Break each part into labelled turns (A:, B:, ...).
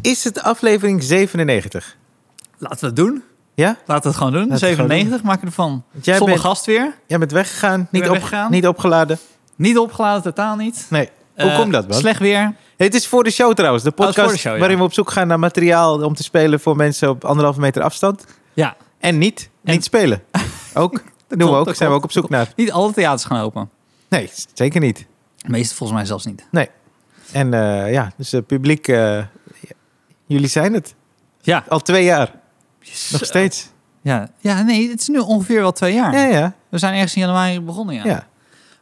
A: Is het aflevering 97?
B: Laten we het doen.
A: Ja?
B: Laten we het gewoon doen.
A: Laten we het gewoon
B: 97 maken we ervan.
A: Want jij
B: Zonder
A: bent-
B: gast weer.
A: Jij bent weggegaan, niet,
B: bent
A: op,
B: weggegaan?
A: niet opgeladen.
B: Niet opgeladen, totaal niet.
A: Nee. Hoe
B: Eh,
A: komt dat, man?
B: Slecht weer.
A: Het is voor de show trouwens. De
B: het is
A: podcast
B: voor de show, ja.
A: waarin we op zoek gaan naar materiaal om te spelen voor mensen op anderhalve meter afstand.
B: Ja.
A: En niet.
B: En-
A: Niet spelen. Ook. Dat doen
B: klopt,
A: we ook.
B: dat
A: Zijn we
B: klopt,
A: ook op zoek naar.
B: Niet alle theaters gaan open.
A: Nee, s- zeker niet.
B: De meeste volgens mij zelfs niet.
A: En eh, ja, dus het publiek, eh, ja, jullie zijn het.
B: Ja.
A: Al twee jaar. Nog
B: Zo.
A: steeds.
B: Ja. ja, nee, het is nu ongeveer wel twee jaar.
A: Ja, ja,
B: We zijn ergens in januari begonnen, ja.
A: ja,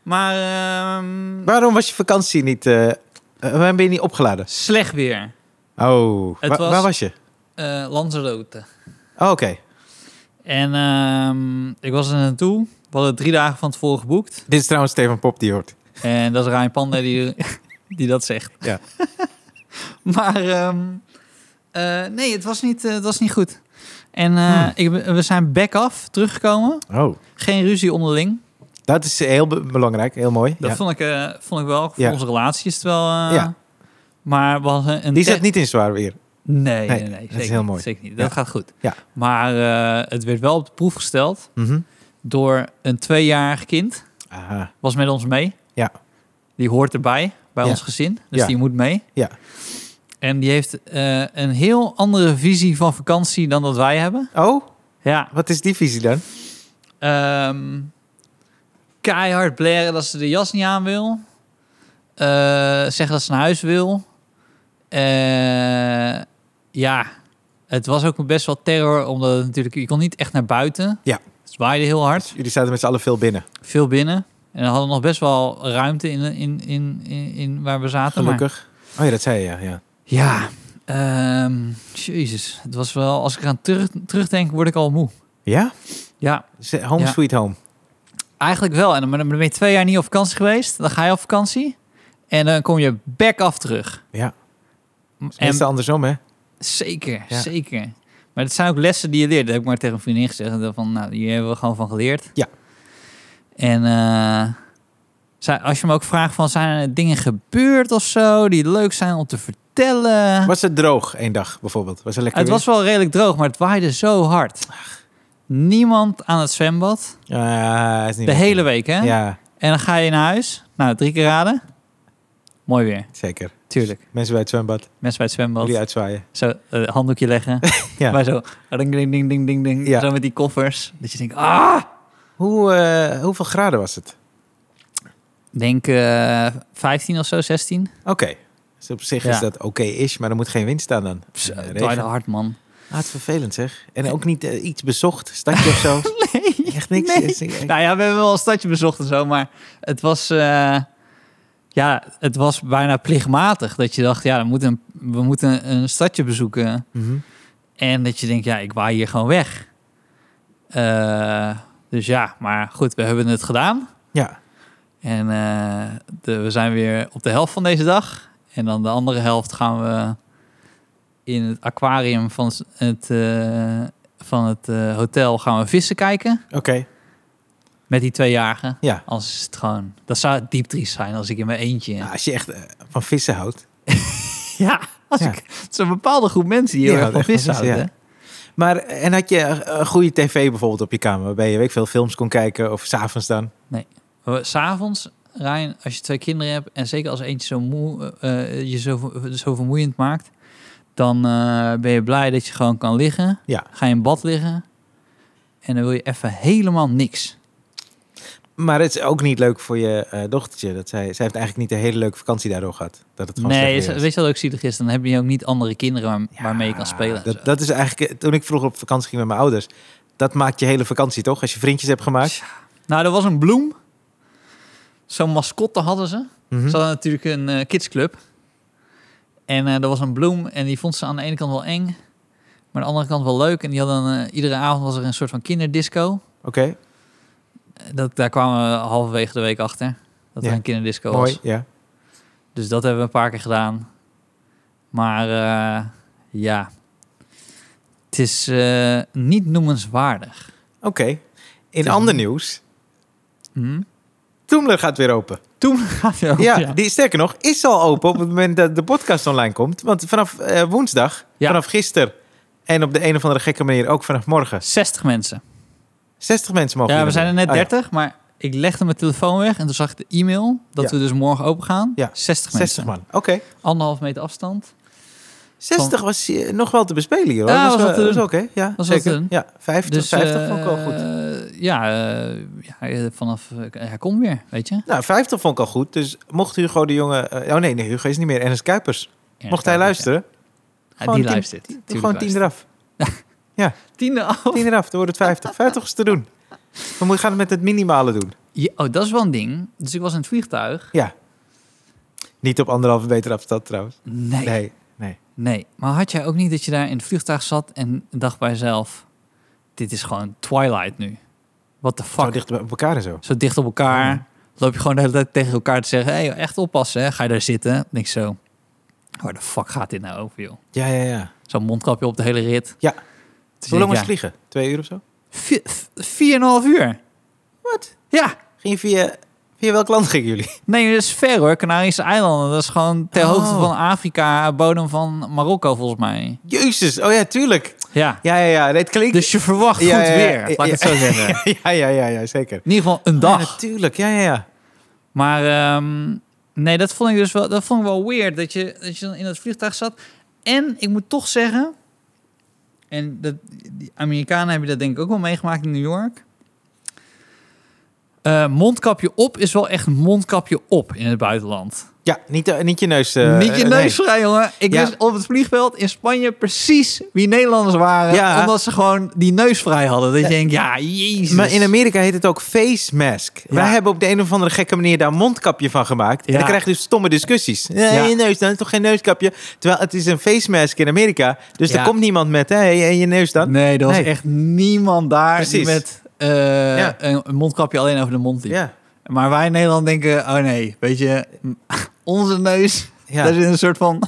B: Maar ehm,
A: Waarom was je vakantie niet... eh, eh, waarom ben je niet opgeladen?
B: slecht weer.
A: Oh,
B: Het
A: wa-
B: was-
A: waar was je?
B: Eh Lanzarote.
A: Oh, Oké.
B: En ehm, ik was er naartoe. We hadden drie dagen van tevoren geboekt.
A: Dit is trouwens Stefan Pop die je hoort.
B: En dat is Ryan Panda die, die dat zegt.
A: Ja.
B: maar ehm, eh, nee, het was niet, eh, het was niet goed. En eh,
A: Hmm.
B: ik, ben- we zijn back-off teruggekomen.
A: Oh.
B: Geen ruzie onderling.
A: Dat is heel be- belangrijk, heel mooi.
B: Dat
A: Ja.
B: vond, ik, eh, vond ik wel. Voor
A: Ja.
B: onze relatie is het wel... eh,
A: Ja.
B: Maar we hadden een...
A: Die
B: te-
A: zat niet in zwaar weer.
B: Nee, nee,
A: Nee,
B: nee.
A: dat is
B: zeker
A: heel
B: niet,
A: mooi.
B: Zeker niet.
A: Ja.
B: Dat gaat goed.
A: Ja.
B: Maar eh, het werd wel op de proef gesteld
A: Mhm.
B: door een tweejarig kind.
A: Aha.
B: Was met ons mee.
A: Ja.
B: Die hoort erbij, bij
A: Ja.
B: ons gezin. Dus
A: Ja.
B: die moet mee.
A: Ja.
B: En die heeft eh, een heel andere visie van vakantie dan dat wij hebben.
A: Oh,
B: Ja.
A: wat is die visie dan?
B: Ehm, keihard blaren dat ze de jas niet aan wil. Eh, zeggen dat ze naar huis wil. Eh, ja, het was ook best wel terror, omdat het natuurlijk, je kon niet echt naar buiten.
A: Ja.
B: Het waaide heel hard,
A: Jullie zaten met z'n allen veel binnen,
B: veel binnen. En we hadden nog best wel ruimte in, in, in, in, in waar we zaten. maar-
A: gelukkig. Oh ja, dat zei je, ja. ja.
B: ja, ehm, jezus. Het was wel, als ik eraan terug, terugdenk, word ik al moe.
A: Ja?
B: Ja,
A: Z- Home
B: Ja.
A: sweet home.
B: Eigenlijk wel. En dan ben dan ben je twee jaar niet op vakantie geweest. Dan ga je op vakantie. En dan kom je back af terug.
A: Ja.
B: En
A: Mensen andersom, hè?
B: zeker,
A: Ja.
B: zeker. Maar het zijn ook lessen die je leert. Dat heb ik maar tegen een vriendin gezegd. En Van, nou, hier hebben we gewoon van geleerd.
A: Ja.
B: En eh, zij- als je me ook vraagt van, zijn er dingen gebeurd of zo die leuk zijn om te vertellen?
A: Was het droog één dag bijvoorbeeld? Was het lekker
B: het was wel redelijk droog, maar het waaide zo hard. Niemand aan het zwembad.
A: weer? Ah, is niet
B: De
A: lekker.
B: hele week, hè?
A: Ja,
B: En dan ga je naar huis. Nou, drie keer raden. Mooi weer,
A: zeker.
B: tuurlijk.
A: Mensen bij het zwembad,
B: Mensen bij het zwembad.
A: jullie uitzwaaien.
B: Zo, eh, handdoekje leggen.
A: Ja.
B: Wij zo, ding, ding, ding, ding, ding, ding.
A: Ja.
B: Zo met die koffers. Dat je denkt, ah!
A: Hoe, eh, hoeveel graden was het?
B: Denk eh 15 of zo, 16.
A: Oké. Dus op zich is
B: Ja.
A: dat oké is, maar er moet geen wind staan dan.
B: Zo,
A: Eh,
B: het
A: regen.
B: waaide hard, man.
A: Ah, het is vervelend zeg. En ook niet eh, iets bezocht, stadje of zo.
B: Nee.
A: Echt niks.
B: Nee.
A: Is- eh,
B: Nou ja, we hebben wel een stadje bezocht en zo, maar het was... eh, ja, het was bijna plichtmatig dat je dacht, ja, we moeten, we moeten een stadje bezoeken.
A: mhm.
B: En dat je denkt, ja, ik waai hier gewoon weg. Eh, dus ja, maar goed, we hebben het gedaan.
A: Ja,
B: En eh, de- we zijn weer op de helft van deze dag. En dan de andere helft gaan we in het aquarium van s- het, eh, van het eh, hotel gaan we vissen kijken.
A: oké.
B: Met die tweejarigen.
A: Ja.
B: Anders is het gewoon... Dat zou diep triest zijn als ik in mijn eentje...
A: Nou, als je echt eh, van vissen houdt.
B: Ja, als
A: Ja.
B: ik... Het is een bepaalde groep mensen die heel
A: Ja,
B: erg van
A: echt van
B: vissen
A: vissen,
B: houden. hè?
A: Maar, eh, en had je eh, een goede tv bijvoorbeeld op je kamer, waarbij je weet ik veel films kon kijken of s'avonds dan?
B: We- S'avonds, Ryan, als je twee kinderen hebt en zeker als eentje zo moe, eh, eh, je zo, ver- zo vermoeiend maakt, dan eh, ben je blij dat je gewoon kan liggen.
A: Ja.
B: Ga je in bad liggen en dan wil je even helemaal niks.
A: Maar het is ook niet leuk voor je eh, dochtertje. Dat zij, zij heeft eigenlijk niet een hele leuke vakantie daardoor gehad. Dat het gewoon
B: nee,
A: slecht
B: is,
A: weer was.
B: weet je wat ook zielig is? Dan heb je ook niet andere kinderen waar-
A: Ja,
B: waarmee je kan spelen. en zo.
A: Dat, dat is eigenlijk, eh, toen ik vroeger op vakantie ging met mijn ouders, dat maakt je hele vakantie toch? Als je vriendjes hebt gemaakt.
B: Nou, er was een bloem. Zo'n mascotte hadden ze.
A: Mhm.
B: Ze hadden natuurlijk een eh, kidsclub. En eh, er was een bloem en die vond ze aan de ene kant wel eng. Maar aan de andere kant wel leuk. En die hadden, eh, iedere avond was er een soort van kinderdisco.
A: Oké,
B: Eh, Dat, daar kwamen we halverwege de week achter. Dat
A: Ja.
B: er een kinderdisco
A: mooi.
B: was.
A: Ja.
B: Dus dat hebben we een paar keer gedaan. Maar eh, ja, het is eh, niet noemenswaardig.
A: Oké. In ander nieuws,
B: Hm?
A: Toemler gaat weer open.
B: Toen gaat hij ook.
A: Ja,
B: ja.
A: Die, sterker nog, is al open op het moment dat de podcast online komt. Want vanaf eh, woensdag,
B: Ja.
A: vanaf gisteren en op de een of andere gekke manier ook vanaf morgen.
B: 60 mensen.
A: 60 mensen mogen
B: Ja, we
A: hier
B: zijn er net
A: naartoe. Ah,
B: 30, maar ik legde mijn telefoon weg en toen zag ik de e-mail dat
A: Ja.
B: we dus morgen open gaan.
A: Ja.
B: 60
A: ja.
B: mensen.
A: 60 man, oké.
B: Anderhalf meter afstand.
A: 60 was eh, nog wel te bespelen hier hoor.
B: Ja,
A: was,
B: was
A: wel-
B: dat te
A: was
B: doen.
A: oké. Ja,
B: Was dat te
A: zeker.
B: doen.
A: Ja, 50,
B: Dus
A: 50
B: eh,
A: vond ik al goed.
B: ja, eh, ja, eh, vanaf. eh, Hij komt weer, weet je.
A: Nou, 50 vond ik al goed. Dus mocht Hugo de Jonge... eh, oh nee, nee, Hugo is niet meer. Ernst Kuipers. mocht hij luisteren,
B: Ja,
A: gewoon
B: die
A: tien-
B: luistert.
A: tien-
B: Tuurlijk
A: gewoon 10
B: luistert.
A: eraf.
B: Tiende af.
A: 10 eraf, dan wordt het 50. 50 is te doen. We moeten gaan het met het minimale doen.
B: Ja, oh, dat is wel een ding. Dus ik was in het vliegtuig.
A: Niet op anderhalve meter afstand trouwens.
B: Nee, nee.
A: Nee.
B: Maar had jij ook niet dat je daar in het vliegtuig zat en dacht bij jezelf: dit is gewoon Twilight nu. What the fuck?
A: Zo dicht bij elkaar en zo.
B: Zo dicht op elkaar.
A: Ja.
B: Loop je gewoon de hele tijd tegen elkaar te zeggen: hey, echt oppassen, hè. ga je daar zitten? Denk ik zo: waar de fuck gaat dit nou over, joh?
A: Ja, ja, ja.
B: Zo'n mondkapje op de hele rit.
A: Ja.
B: Dus
A: Hoe lang was
B: ja,
A: het vliegen? Twee uur of zo?
B: vier, vier en een half uur.
A: Wat?
B: Ja.
A: Ging je via, via welk land gingen jullie?
B: Nee, dat is ver hoor. Canarische eilanden. Dat is gewoon ter
A: Oh.
B: hoogte van Afrika, bodem van Marokko volgens mij.
A: Jezus, oh ja, tuurlijk.
B: Ja.
A: Ja, ja, ja. Nee, het klinkt...
B: Dus je verwacht
A: Ja,
B: goed
A: ja, ja.
B: weer, laat ik het zo zeggen.
A: ja, ja, ja, ja, zeker.
B: In ieder geval een
A: Ja,
B: dag.
A: natuurlijk. Ja, ja, ja.
B: Maar ehm, nee, dat vond ik dus wel, dat vond ik wel weird. Dat je, dat je dan in dat vliegtuig zat. En ik moet toch zeggen. En dat, die Amerikanen hebben dat denk ik ook wel meegemaakt in New York. Eh, mondkapje op is wel echt mondkapje op in het buitenland.
A: Ja, niet, eh, niet je neus... eh,
B: Niet je
A: eh,
B: neus vrij, jongen. Ik
A: Ja.
B: wist op het vliegveld in Spanje precies wie Nederlanders waren.
A: Ja.
B: Omdat ze gewoon die neus vrij hadden. Dat
A: Ja.
B: je denkt, ja, jezus.
A: Maar in Amerika heet het ook face mask. Wij hebben op de een of andere gekke manier daar een mondkapje van gemaakt. En
B: Ja.
A: dan krijg je dus stomme discussies. Nee,
B: Ja.
A: je neus dan, is toch geen neuskapje? Terwijl het is een face mask in Amerika. Dus
B: Ja.
A: daar komt niemand met, hé, en je neus dan?
B: Nee, er was
A: Nee.
B: echt niemand daar die
A: Precies.
B: met eh,
A: Ja.
B: een een mondkapje alleen over de mond liep.
A: Ja,
B: Maar wij in Nederland denken, oh nee, weet je, m- onze neus, daar
A: ja.
B: zit een soort van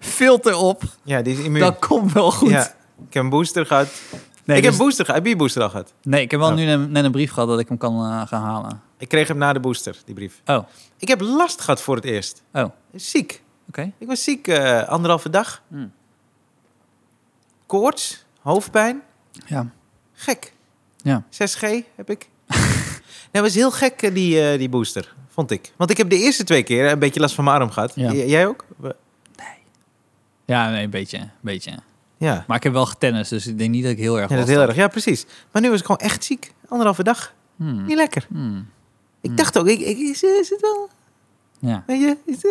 B: filter op.
A: ja die is immuun.
B: Dat komt wel goed.
A: Ja. Ik heb een booster gehad.
B: Nee,
A: ik
B: dus-
A: heb een booster gehad. Heb je een booster al gehad?
B: nee, ik heb wel
A: Oh.
B: nu ne- net een brief gehad dat ik hem kan eh, gaan halen.
A: Ik kreeg hem na de booster, die brief.
B: Oh, oké.
A: Ik heb last gehad voor het eerst.
B: Oh.
A: Ziek. Ik was ziek eh, anderhalve dag.
B: Hmm.
A: Koorts, hoofdpijn.
B: Ja.
A: Gek.
B: Ja.
A: 6G heb ik. nee, was heel gek eh, die, eh, die booster, vond ik. Want ik heb de eerste twee keer een beetje last van mijn arm gehad.
B: Ja.
A: J- jij ook? We-
B: Ja, nee, een beetje, een beetje.
A: Ja.
B: Maar ik heb wel getennis, dus ik denk niet dat ik heel
A: Ja,
B: erg
A: dat
B: last
A: is heel
B: had.
A: erg. Ja, precies. Maar nu was ik gewoon echt ziek. Anderhalve dag.
B: Hmm,
A: Niet lekker.
B: hmm,
A: Ik
B: Hmm.
A: dacht ook, ik, ik, is, is het wel?
B: Ja.
A: Weet je? Is, eh,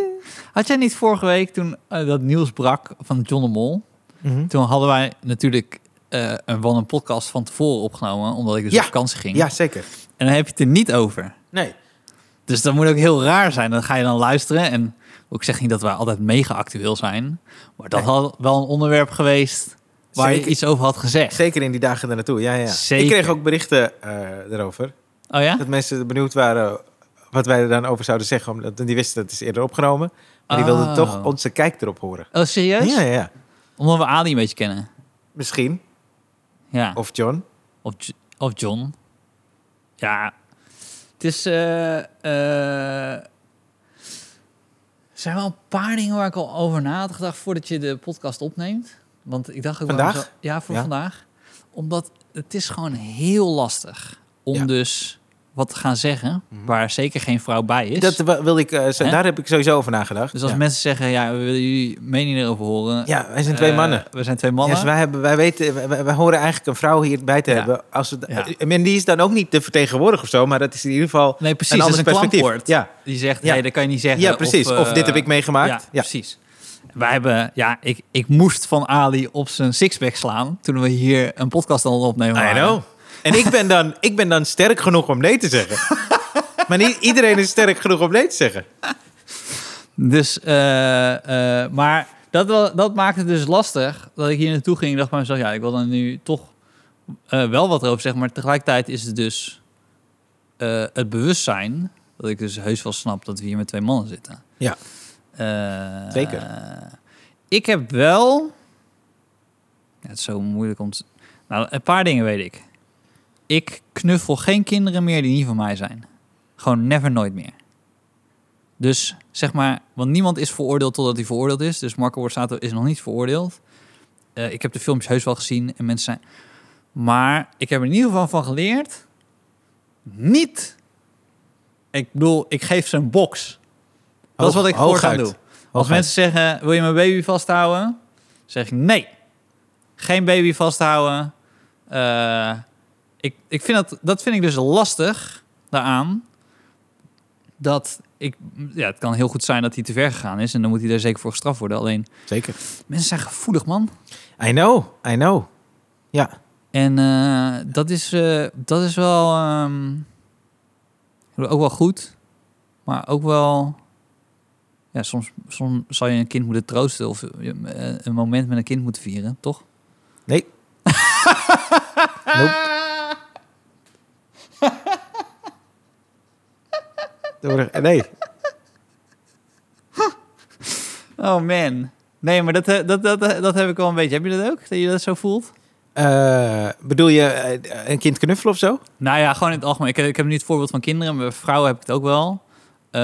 B: Had jij niet vorige week, toen eh, dat nieuws brak van John de Mol...
A: mhm.
B: Toen hadden wij natuurlijk eh, een, wel een podcast van tevoren opgenomen, omdat ik dus
A: Ja.
B: op vakantie ging.
A: Ja, zeker.
B: En dan heb je het er niet over.
A: Nee.
B: Dus dat moet ook heel raar zijn. Dan ga je dan luisteren en ik zeg niet dat wij altijd mega actueel zijn, maar dat
A: Nee.
B: had wel een onderwerp geweest waar
A: Zeker.
B: je iets over had gezegd.
A: Zeker in die dagen daarnaartoe. Ja, ja.
B: Zeker.
A: Ik kreeg ook berichten eh daarover.
B: Oh ja?
A: Dat mensen benieuwd waren wat wij er dan over zouden zeggen. Omdat die wisten dat het is eerder opgenomen. Maar die wilden
B: Oh.
A: toch onze kijk erop horen.
B: Oh serieus?
A: Ja, ja, ja.
B: Omdat we Ali een beetje kennen.
A: Misschien.
B: Ja.
A: Of John.
B: Of, J- of John. Ja. Het is... eh, eh, er zijn wel een paar dingen waar ik al over na had gedacht voordat je de podcast opneemt. Want ik dacht ook... waarom
A: Vandaag?
B: zou- ja, voor
A: Ja.
B: vandaag. Omdat het is gewoon heel lastig om
A: Ja.
B: dus wat te gaan zeggen
A: Mhm.
B: waar zeker geen vrouw bij is.
A: Dat wa- wil ik, eh, zo-
B: Hè?
A: daar heb ik sowieso over nagedacht.
B: dus als
A: ja.
B: mensen zeggen, ja, we willen jullie mening erover horen.
A: ja, wij zijn twee
B: Eh,
A: mannen.
B: We zijn twee mannen.
A: Ja, dus wij, hebben, wij, weten, wij- wij, wij horen eigenlijk een vrouw hierbij te
B: Ja.
A: hebben. Als we,
B: Ja.
A: En die is dan ook niet de vertegenwoordiger of zo, maar dat is in ieder geval
B: nee, precies.
A: een
B: dat
A: ander
B: is een
A: perspectief.
B: klankwoord.
A: Ja.
B: Die zegt,
A: Ja.
B: nee, dat kan je niet zeggen.
A: ja, precies. Of,
B: eh,
A: dit heb ik meegemaakt.
B: Ja,
A: Ja,
B: precies. Wij hebben, ja, ik, ik moest van Ali op zijn sixpack slaan toen we hier een podcast al opnemen.
A: I
B: waren.
A: know. En ik ben, dan, ik ben dan sterk genoeg om nee te zeggen. maar niet iedereen is sterk genoeg om nee te zeggen.
B: Dus, eh, eh, maar dat, wel- dat maakt het dus lastig dat ik hier naartoe ging en dacht bij mezelf, ja, ik wil dan nu toch eh, wel wat erover zeggen, maar tegelijkertijd is het dus eh, het bewustzijn dat ik dus heus wel snap dat we hier met twee mannen zitten.
A: Ja.
B: Eh,
A: Zeker.
B: Ik heb wel. Ja, het is zo moeilijk om. te- Nou, een paar dingen weet ik. Ik knuffel geen kinderen meer die niet van mij zijn. Gewoon never nooit meer. Dus zeg maar, want niemand is veroordeeld totdat hij veroordeeld is. Dus Marco Borsato is nog niet veroordeeld. Eh, ik heb de filmpjes heus wel gezien en mensen zijn... Maar ik heb er in ieder geval van geleerd... Niet... Ik bedoel, ik geef ze een box. Dat is
A: Hoog-
B: wat ik
A: hooguit.
B: voortaan doe. Als
A: Hooguit.
B: mensen zeggen, wil je mijn baby vasthouden? Zeg ik nee. Geen baby vasthouden. Eh, ik, ik vind dat, dat vind ik dus lastig daaraan. Dat ik, ja, het kan heel goed zijn dat hij te ver gegaan is. En dan moet hij daar zeker voor gestraft worden. Alleen,
A: Zeker.
B: mensen zijn gevoelig, man.
A: I know, I know. Ja,
B: En eh, dat, is, eh, dat is wel... ehm, ik bedoel, ook wel goed. Maar ook wel... Ja, soms, soms zal je een kind moeten troosten. Of eh, een moment met een kind moeten vieren, toch?
A: nee. nope. Door- eh, Nee,
B: Oh man. Nee, maar dat, eh, dat, dat, dat heb ik wel een beetje. Heb je dat ook? Dat je dat zo voelt?
A: Eh, bedoel je eh, een kind knuffelen of zo?
B: Nou ja, gewoon in het algemeen. Ik, heb- ik heb nu het voorbeeld van kinderen, maar bij vrouwen heb ik het ook wel.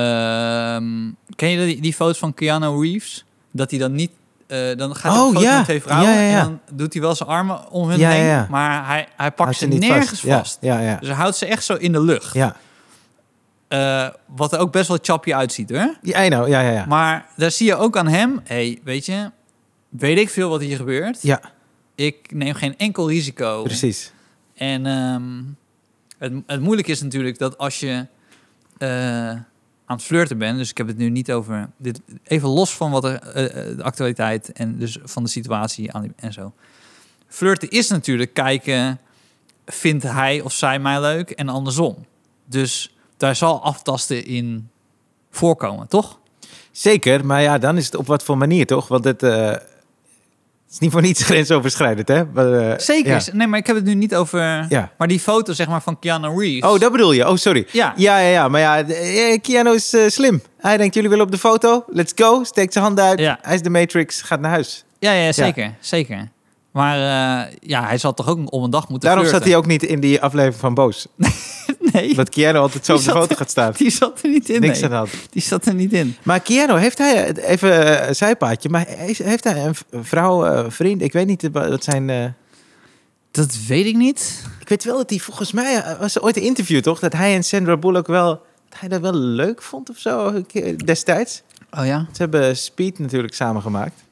B: Ehm, ken je die, die foto's van Keanu Reeves? Dat hij dan niet... eh, dan gaat hij
A: Oh,
B: op een foto
A: ja.
B: met twee vrouwen
A: Ja, ja, ja.
B: en dan doet hij wel zijn armen om hun
A: Ja, ja,
B: heen.
A: ja.
B: Maar hij, hij pakt
A: Houdt
B: ze
A: niet
B: nergens vast.
A: Ja, Ja, ja,
B: Dus hij houdt ze echt zo in de lucht.
A: ja.
B: Eh, wat er ook best wel chapje uitziet, hoor.
A: Ja, I know. Ja, ja, ja.
B: Maar daar zie je ook aan hem... hey, weet je, weet ik veel wat hier gebeurt.
A: Ja,
B: Ik neem geen enkel risico.
A: precies.
B: En ehm, het, het moeilijke is natuurlijk dat als je eh, aan het flirten bent, dus ik heb het nu niet over dit, even los van wat er eh, eh, de actualiteit en dus van de situatie aan die- en zo. Flirten is natuurlijk kijken, vindt hij of zij mij leuk en andersom. Dus daar zal aftasten in voorkomen, toch?
A: Zeker, maar ja, dan is het op wat voor manier toch? Want het eh, is niet voor niets grensoverschrijdend, hè? Maar, eh,
B: Zeker.
A: ja.
B: is- Nee, maar ik heb het nu niet over.
A: Ja.
B: Maar die foto zeg maar van Keanu Reeves.
A: Oh, dat bedoel je? Oh, sorry.
B: Ja.
A: Ja, ja, ja. Maar ja, eh, eh, Keanu is eh, slim. Hij denkt, jullie willen op de foto? Let's go. Steekt zijn handen uit.
B: Ja.
A: Hij is de Matrix. Gaat naar huis.
B: Ja, ja zeker. Zeker. Maar eh, ja, hij zal toch ook om een dag moeten
A: Daarom zat
B: flirten.
A: hij ook niet in die aflevering van Boos.
B: Nee,
A: Dat Keanu altijd zo op
B: Die
A: de
B: zat-
A: foto gaat staan.
B: die zat er niet in.
A: Niks
B: nee.
A: aan de hand.
B: Die zat er niet in.
A: Maar Keanu, heeft hij, eh, even een zijpaadje, maar heeft heeft hij een v- een vrouw, eh, een vriend? Ik weet niet eh, wat zijn... eh,
B: Dat weet ik niet.
A: Ik weet wel dat hij volgens mij, eh, was er ooit een interview toch? Dat hij en Sandra Bullock wel, dat hij dat wel leuk vond of zo een keer destijds.
B: Oh ja?
A: Ze hebben Speed natuurlijk samen gemaakt.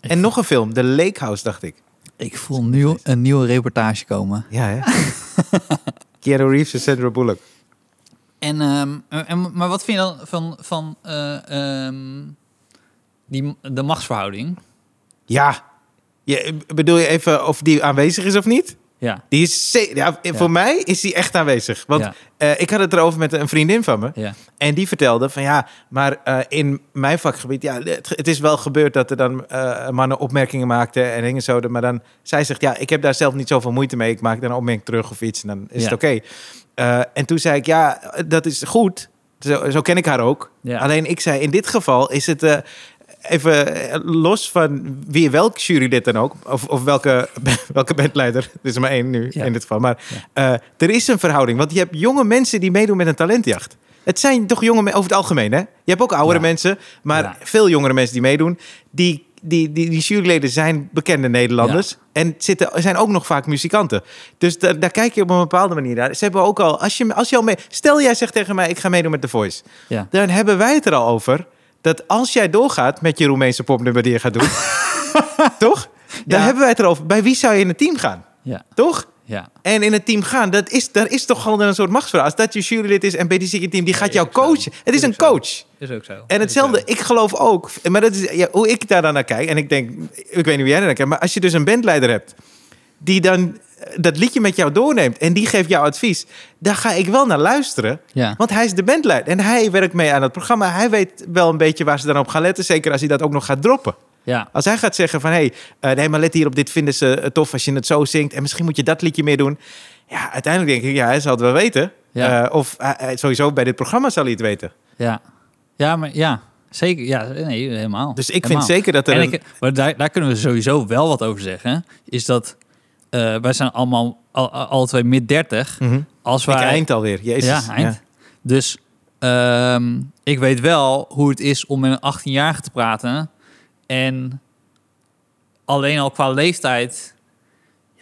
A: En nog een film, The Lake House, dacht ik.
B: Ik voel nu een nieuwe reportage komen.
A: Ja, hè? Keanu Reeves en Sandra Bullock.
B: En, ehm, en, maar wat vind je dan van, van eh, ehm, die, de machtsverhouding?
A: Ja. Je, bedoel je even of die aanwezig is of niet?
B: Ja,
A: Die is ze- ja, Voor mij is die echt aanwezig. Want
B: Ja.
A: eh, ik had het erover met een vriendin van me.
B: ja.
A: En die vertelde van ja, maar eh, in mijn vakgebied, ja, het, het is wel gebeurd dat er dan eh, mannen opmerkingen maakten en dingen zo. Maar dan, zij zegt ja, ik heb daar zelf niet zoveel moeite mee. Ik maak dan een opmerking terug of iets en dan is het
B: Ja.
A: oké. Eh, en toen zei ik ja, dat is goed. Zo, zo ken ik haar ook.
B: Ja.
A: Alleen ik zei in dit geval is het eh, even eh, los van wie welk jurylid dan ook, of, of welke, welke bandleider, er is er maar één nu
B: Ja.
A: in dit geval. Maar eh, er is een verhouding, want je hebt jonge mensen die meedoen met een talentjacht. Het zijn toch jonge mensen, over het algemeen hè? Je hebt ook oudere
B: Ja.
A: mensen, maar
B: Ja.
A: veel jongere mensen die meedoen, die, die, die, die juryleden zijn bekende Nederlanders. En zitten, zijn ook nog vaak muzikanten. Dus da- daar kijk je op een bepaalde manier naar. Ze hebben ook al, als je, als je al mee, stel jij zegt tegen mij, ik ga meedoen met The Voice
B: ja.
A: dan hebben wij het er al over. Dat als jij doorgaat met je Roemeense popnummer die je gaat doen. toch? Daar
B: Ja.
A: hebben wij het erover. Bij wie zou je in het team gaan?
B: ja.
A: Toch?
B: ja.
A: En in het team gaan, dat is, daar is toch gewoon een soort machtsverhaal. Als dat je jurylid is en bij die zieke team, die gaat jou
B: is ook zo.
A: coachen. Het is
B: Is
A: een
B: ook zo.
A: coach.
B: Is ook zo.
A: En hetzelfde, ik geloof ook, maar dat is ja, hoe ik daar dan naar kijk. En ik denk, ik weet niet hoe jij daar naar kijkt, maar als je dus een bandleider hebt die dan eh, dat liedje met jou doorneemt en die geeft jou advies, daar ga ik wel naar luisteren.
B: Ja.
A: Want hij is de bandleider en hij werkt mee aan het programma. Hij weet wel een beetje waar ze dan op gaan letten. Zeker als hij dat ook nog gaat droppen.
B: ja.
A: Als hij gaat zeggen van... hé, hey, eh, nee, maar let hier op, dit vinden ze eh, tof als je het zo zingt... en misschien moet je dat liedje meer doen. Ja, uiteindelijk denk ik, ja, hij zal het wel weten.
B: Ja.
A: Eh, of hij- hij- sowieso bij dit programma zal hij het weten.
B: Ja, ja maar ja, zeker. Ja, nee, helemaal.
A: Dus ik vind
B: Helemaal.
A: zeker dat er...
B: En
A: een-
B: ik, maar daar, daar kunnen we sowieso wel wat over zeggen. Is dat eh, wij zijn allemaal al, al alle twee mid 30.
A: Mhm.
B: Als
A: Ik
B: wij
A: eind alweer, jezus.
B: ja, eind. Dus Ehm, ik weet wel hoe het is om met een 18-jarige te praten. En alleen al qua leeftijd.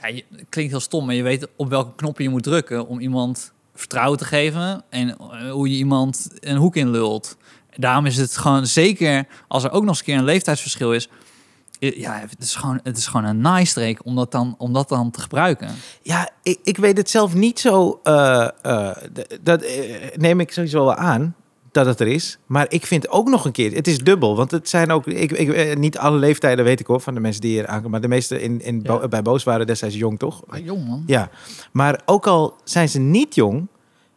B: Ja, je, het klinkt heel stom, maar je weet op welke knoppen je moet drukken om iemand vertrouwen te geven. En eh, hoe je iemand een hoek in lult. Daarom is het gewoon zeker als er ook nog eens een keer een leeftijdsverschil is. eh, Ja, het is gewoon, het is gewoon een naaistreek om dat dan, om dat dan te gebruiken.
A: Ja, ik, ik weet het zelf niet zo. eh, eh, d- dat eh, neem ik sowieso wel aan dat het er is. Maar ik vind ook nog een keer, het is dubbel. Want het zijn ook, ik, ik, eh, niet alle leeftijden weet ik hoor van de mensen die hier aankomen. Maar de meeste in, in,
B: Ja.
A: Bo- bij Boos waren destijds jong, toch?
B: Maar jong man.
A: Ja, maar ook al zijn ze niet jong,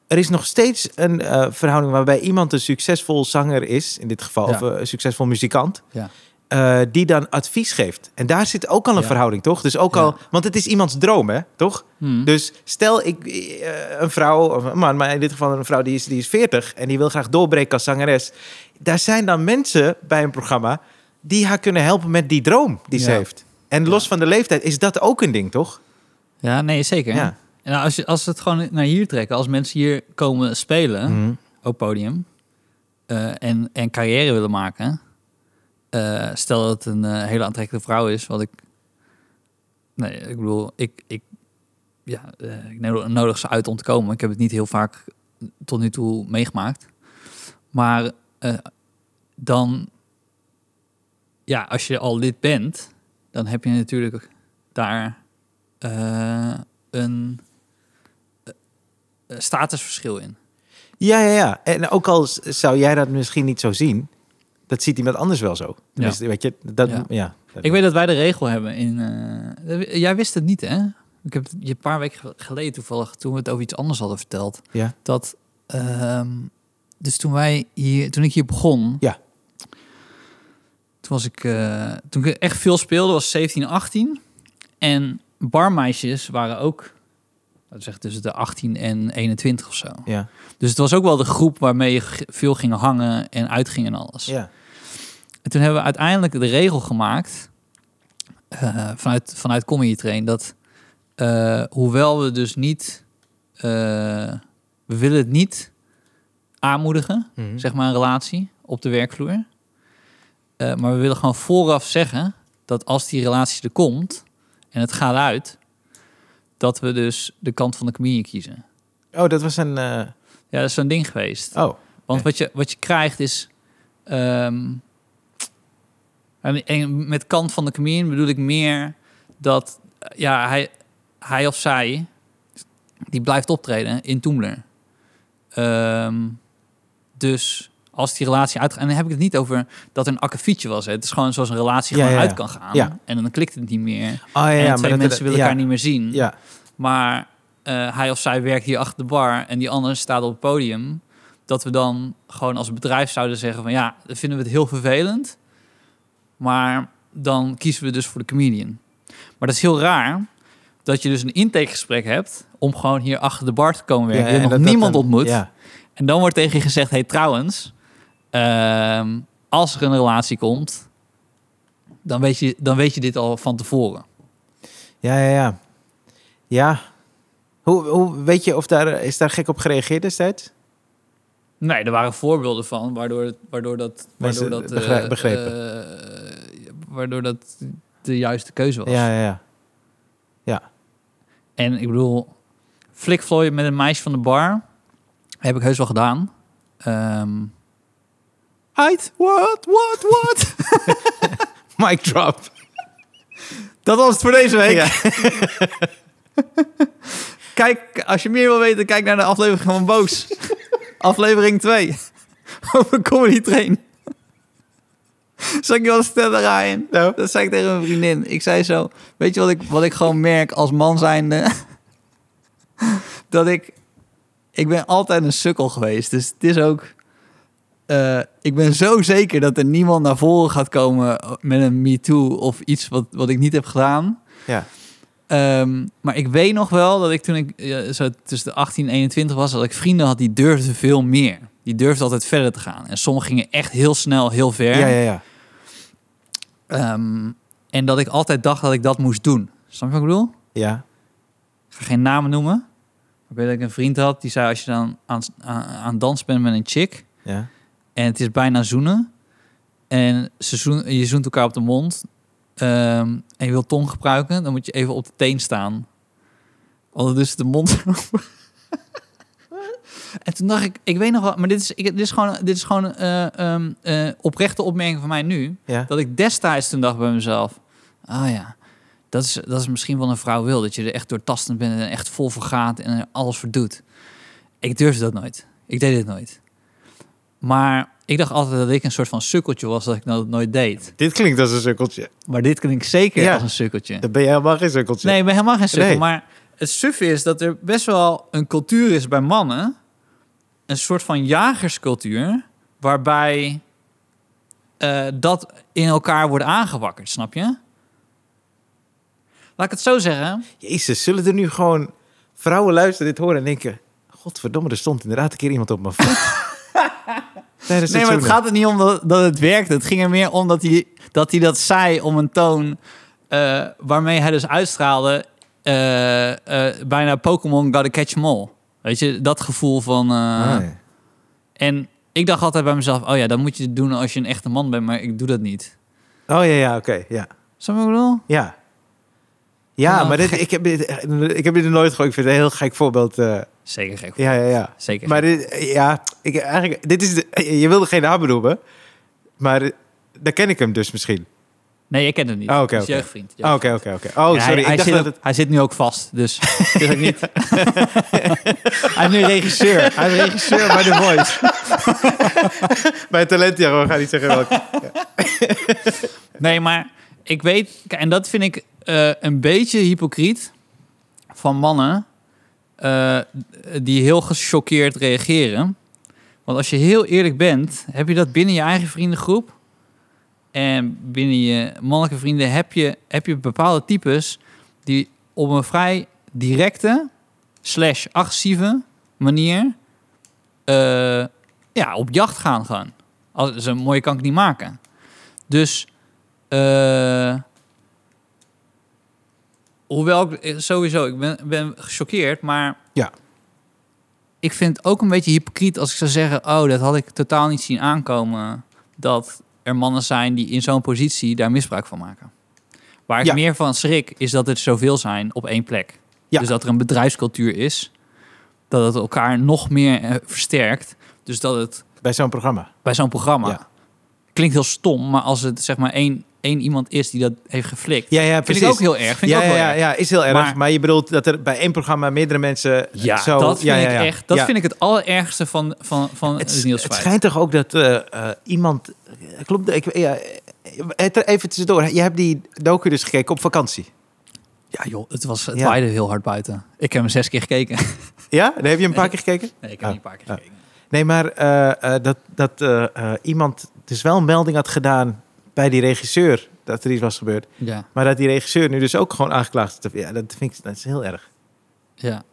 A: er is nog steeds een eh, verhouding waarbij iemand een succesvol zanger is, in dit geval,
B: Ja.
A: of eh, een succesvol muzikant.
B: Ja.
A: eh, die dan advies geeft. En daar zit ook al een
B: Ja.
A: verhouding, toch? Dus ook
B: Ja.
A: al, want het is iemands droom, hè? Toch?
B: Hmm.
A: Dus stel ik, eh, een vrouw, of een man, maar in dit geval een vrouw die is, die is 40 en die wil graag doorbreken als zangeres. Daar zijn dan mensen bij een programma die haar kunnen helpen met die droom die ze
B: Ja.
A: heeft. En los van de leeftijd is dat ook een ding, toch?
B: Ja, nee, zeker.
A: Ja.
B: En nou, als, je, als we het gewoon naar hier trekken, als mensen hier komen spelen
A: Mhm.
B: op podium eh, en, en carrière willen maken, eh, stel dat het een eh, hele aantrekkelijke vrouw is, wat ik. Nee, ik bedoel, ik, ik, ja, eh, ik nodig, nodig ze uit om te komen. Ik heb het niet heel vaak tot nu toe meegemaakt. Maar eh, dan, ja, als je al lid bent, dan heb je natuurlijk daar eh, een eh, eh, statusverschil in.
A: Ja, ja, ja. En ook al s- zou jij dat misschien niet zo zien, dat ziet iemand anders wel zo. Tenminste, weet je, dat,
B: Ja.
A: ja.
B: Ik weet dat wij de regel hebben in. eh, jij wist het niet, hè? Ik heb het je een paar weken geleden toevallig, toen we het over iets anders hadden verteld,
A: Ja.
B: dat. ehm, dus toen wij hier, toen ik hier begon.
A: Ja.
B: Toen was ik, eh, toen ik echt veel speelde, was 17, 18. En barmeisjes waren ook, laten we zeggen, tussen de 18 en 21 of zo.
A: Ja,
B: Dus het was ook wel de groep waarmee je g- veel ging hangen en uitging en alles.
A: ja.
B: En toen hebben we uiteindelijk de regel gemaakt eh, vanuit, vanuit Comedy Train dat eh, hoewel we dus niet, eh, we willen het niet aanmoedigen,
A: Mhm.
B: zeg maar een relatie op de werkvloer. Eh, maar we willen gewoon vooraf zeggen dat als die relatie er komt en het gaat uit, dat we dus de kant van de comedian kiezen.
A: Oh, dat was een... eh,
B: Ja, dat is zo'n ding geweest.
A: Oh,
B: Want
A: Ja.
B: wat, je, wat je krijgt is. ehm, en- en met kant van de comedian bedoel ik meer dat eh, ja, hij, hij of zij die blijft optreden in Toemler. Ehm, dus als die relatie uitgaat. En dan heb ik het niet over dat er een akkefietje was. Hè. Het is gewoon zoals een relatie
A: Ja,
B: gewoon
A: ja, ja.
B: uit kan gaan.
A: Ja.
B: En dan klikt het niet meer.
A: oh ja,
B: en
A: ja.
B: twee
A: dat-
B: mensen willen
A: ja,
B: elkaar niet meer zien.
A: Ja,
B: Maar eh, hij of zij werkt hier achter de bar en die andere staat op het podium. Dat we dan gewoon als bedrijf zouden zeggen van ja, dan vinden we het heel vervelend. Maar dan kiezen we dus voor de comedian. Maar dat is heel raar dat je dus een intakegesprek hebt om gewoon hier achter de bar te komen werken.
A: ja,
B: je
A: en
B: hebt nog
A: dat- dat
B: niemand
A: dan-
B: ontmoet.
A: Ja,
B: En dan wordt tegen je gezegd, hey trouwens, ehm, als er een relatie komt, dan weet, je, dan weet je dit al van tevoren.
A: ja, ja. Ja. ja. Hoe, hoe weet je of daar... Is daar gek op gereageerd destijds?
B: Nee, er waren voorbeelden van, waardoor, het- waardoor dat...
A: Mensen
B: Waardoor dat
A: begrij-
B: eh,
A: begrepen.
B: eh, waardoor dat de juiste keuze was.
A: Ja, ja, ja.
B: En ik bedoel, flikvlooien met een meisje van de bar heb ik heus wel gedaan. Ehm Heid, what, what, what?
A: Mic drop.
B: dat was het voor deze week.
A: Ja.
B: Kijk, als je meer wil weten, kijk naar de aflevering van Boos. aflevering 2. Over Comedy Train. Zal ik je wat vertellen, Ryan?
A: Nou.
B: Dat zei ik tegen mijn vriendin. Ik zei zo, weet je wat ik, wat ik gewoon merk als man zijnde? dat ik... Ik ben altijd een sukkel geweest. Dus het is ook... eh, ik ben zo zeker dat er niemand naar voren gaat komen met een me too of iets wat, wat ik niet heb gedaan.
A: Ja.
B: Ehm, maar ik weet nog wel dat ik toen ik eh, zo tussen de 18 en 21 was, dat ik vrienden had die durfden veel meer. Die durfden altijd verder te gaan. En sommigen gingen echt heel snel, heel ver.
A: Ja, ja, ja.
B: Ehm, en dat ik altijd dacht dat ik dat moest doen. Snap je wat ik bedoel?
A: Ja,
B: Ik ga geen namen noemen. Ik weet dat ik een vriend had, die zei als je dan aan, aan, aan dans bent met een chick...
A: Ja.
B: en het is bijna zoenen... en ze zoen, je zoent elkaar op de mond... ehm, en je wil tong gebruiken... dan moet je even op de teen staan. Want dus de mond... en toen dacht ik, ik weet nog wel... maar dit is, ik, dit is gewoon, dit is gewoon eh, ehm, eh, oprechte opmerking van mij nu...
A: Ja.
B: Dat ik destijds toen dacht bij mezelf... Ah ja, dat is, dat is misschien wat een vrouw wil. Dat je er echt doortastend bent en echt vol voor gaat en er alles voor doet. Ik durfde dat nooit. Ik deed dit nooit. Maar ik dacht altijd dat ik een soort van sukkeltje was dat ik dat nooit deed.
A: Dit klinkt als een sukkeltje.
B: Maar dit klinkt zeker
A: Ja.
B: als een sukkeltje.
A: Dan ben je helemaal geen sukkeltje.
B: Nee, ik ben helemaal geen sukkel.
A: Nee.
B: Maar het suffe is dat er best wel een cultuur is bij mannen. Een soort van jagerscultuur. Waarbij eh, dat in elkaar wordt aangewakkerd, snap je? Laat ik het zo zeggen.
A: Jezus, zullen er nu gewoon vrouwen luisteren, dit horen en denken... Godverdomme, er stond inderdaad een keer iemand op mijn voet. Tijdens
B: Nee, maar het
A: zoenen.
B: gaat er niet om dat, dat het werkte. Het ging er meer om dat hij dat, hij dat zei om een toon eh, waarmee hij dus uitstraalde. eh, eh, bijna Pokémon gotta catch 'em all. Weet je, dat gevoel van... eh,
A: Ah, ja.
B: En ik dacht altijd bij mezelf, oh ja, dat moet je doen als je een echte man bent, maar ik doe dat niet.
A: Oh ja, ja, oké. ja.
B: Snap je wat ik bedoel?
A: Ja. Ja,
B: Oh,
A: maar dit,
B: gek.
A: ik, heb dit, ik heb dit nog nooit gehoord. Ik vind het een heel gek voorbeeld. eh,
B: Zeker gek.
A: ja, ja, ja.
B: Zeker.
A: Maar dit, ja, ik, eigenlijk, dit is de, je wilde geen naam noemen, maar eh, daar ken ik hem dus misschien.
B: Nee, jij kent hem niet.
A: Oh,
B: Oké.
A: oké,
B: is
A: oké.
B: jeugdvriend.
A: Oh, oké, oké, oké. Oh,
B: Ja, hij,
A: sorry.
B: hij
A: Ik dacht
B: zit,
A: dat
B: ook-
A: het...
B: hij zit nu ook vast, dus het is ook niet... hij is nu regisseur. Hij is regisseur bij The Voice.
A: Bij talentjaar, we gaan niet zeggen welke.
B: Nee, maar ik weet... kijk, En dat vind ik eh, een beetje hypocriet van mannen eh, die heel gechoqueerd reageren. Want als je heel eerlijk bent, heb je dat binnen je eigen vriendengroep. En binnen je mannelijke vrienden heb je, heb je bepaalde types die op een vrij directe slash agressieve manier eh, ja, op jacht gaan gaan. Als, zo mooi kan ik niet maken. Dus eh, hoewel ik eh, sowieso, ik ben, ben gechoqueerd, maar
A: Ja.
B: ik vind het ook een beetje hypocriet als ik zou zeggen, oh, dat had ik totaal niet zien aankomen, dat er mannen zijn die in zo'n positie daar misbruik van maken. Waar ik
A: Ja.
B: meer van schrik is dat het zoveel zijn op één plek.
A: Ja.
B: Dus dat er een bedrijfscultuur is, dat het elkaar nog meer eh, versterkt. Dus dat het
A: Bij zo'n programma.
B: bij zo'n programma.
A: Ja.
B: Klinkt heel stom, maar als het zeg maar één, één iemand is die dat heeft geflikt.
A: Ja, ja,
B: vind
A: precies.
B: ik ook heel erg. Vind
A: ja,
B: ik ook heel
A: ja,
B: erg.
A: ja, is heel erg.
B: Maar-
A: Maar, je bedoelt dat er bij één programma meerdere mensen
B: Ja,
A: zo...
B: dat vind
A: ja, ja,
B: ik
A: ja.
B: echt. Dat
A: Ja.
B: vind ik het allerergste van, van, van het,
A: Het,
B: Niels
A: het
B: Feith.
A: schijnt toch ook dat eh, eh, iemand... Klopt, ik, ja, eh, even tussendoor. Je hebt die docu dus gekeken op vakantie.
B: Ja, joh, het was het
A: Ja.
B: waaide heel hard buiten. Ik heb hem zes keer gekeken.
A: Ja? Dan heb je een paar keer gekeken?
B: Nee, ik heb
A: Ah,
B: niet een paar keer
A: ah.
B: gekeken.
A: Nee, maar eh, eh, dat, dat eh, eh, iemand dus wel een melding had gedaan bij die regisseur dat er iets was gebeurd.
B: Ja,
A: Maar dat die regisseur nu dus ook gewoon aangeklaagd is. Ja, dat vind ik dat is heel erg.
B: ja.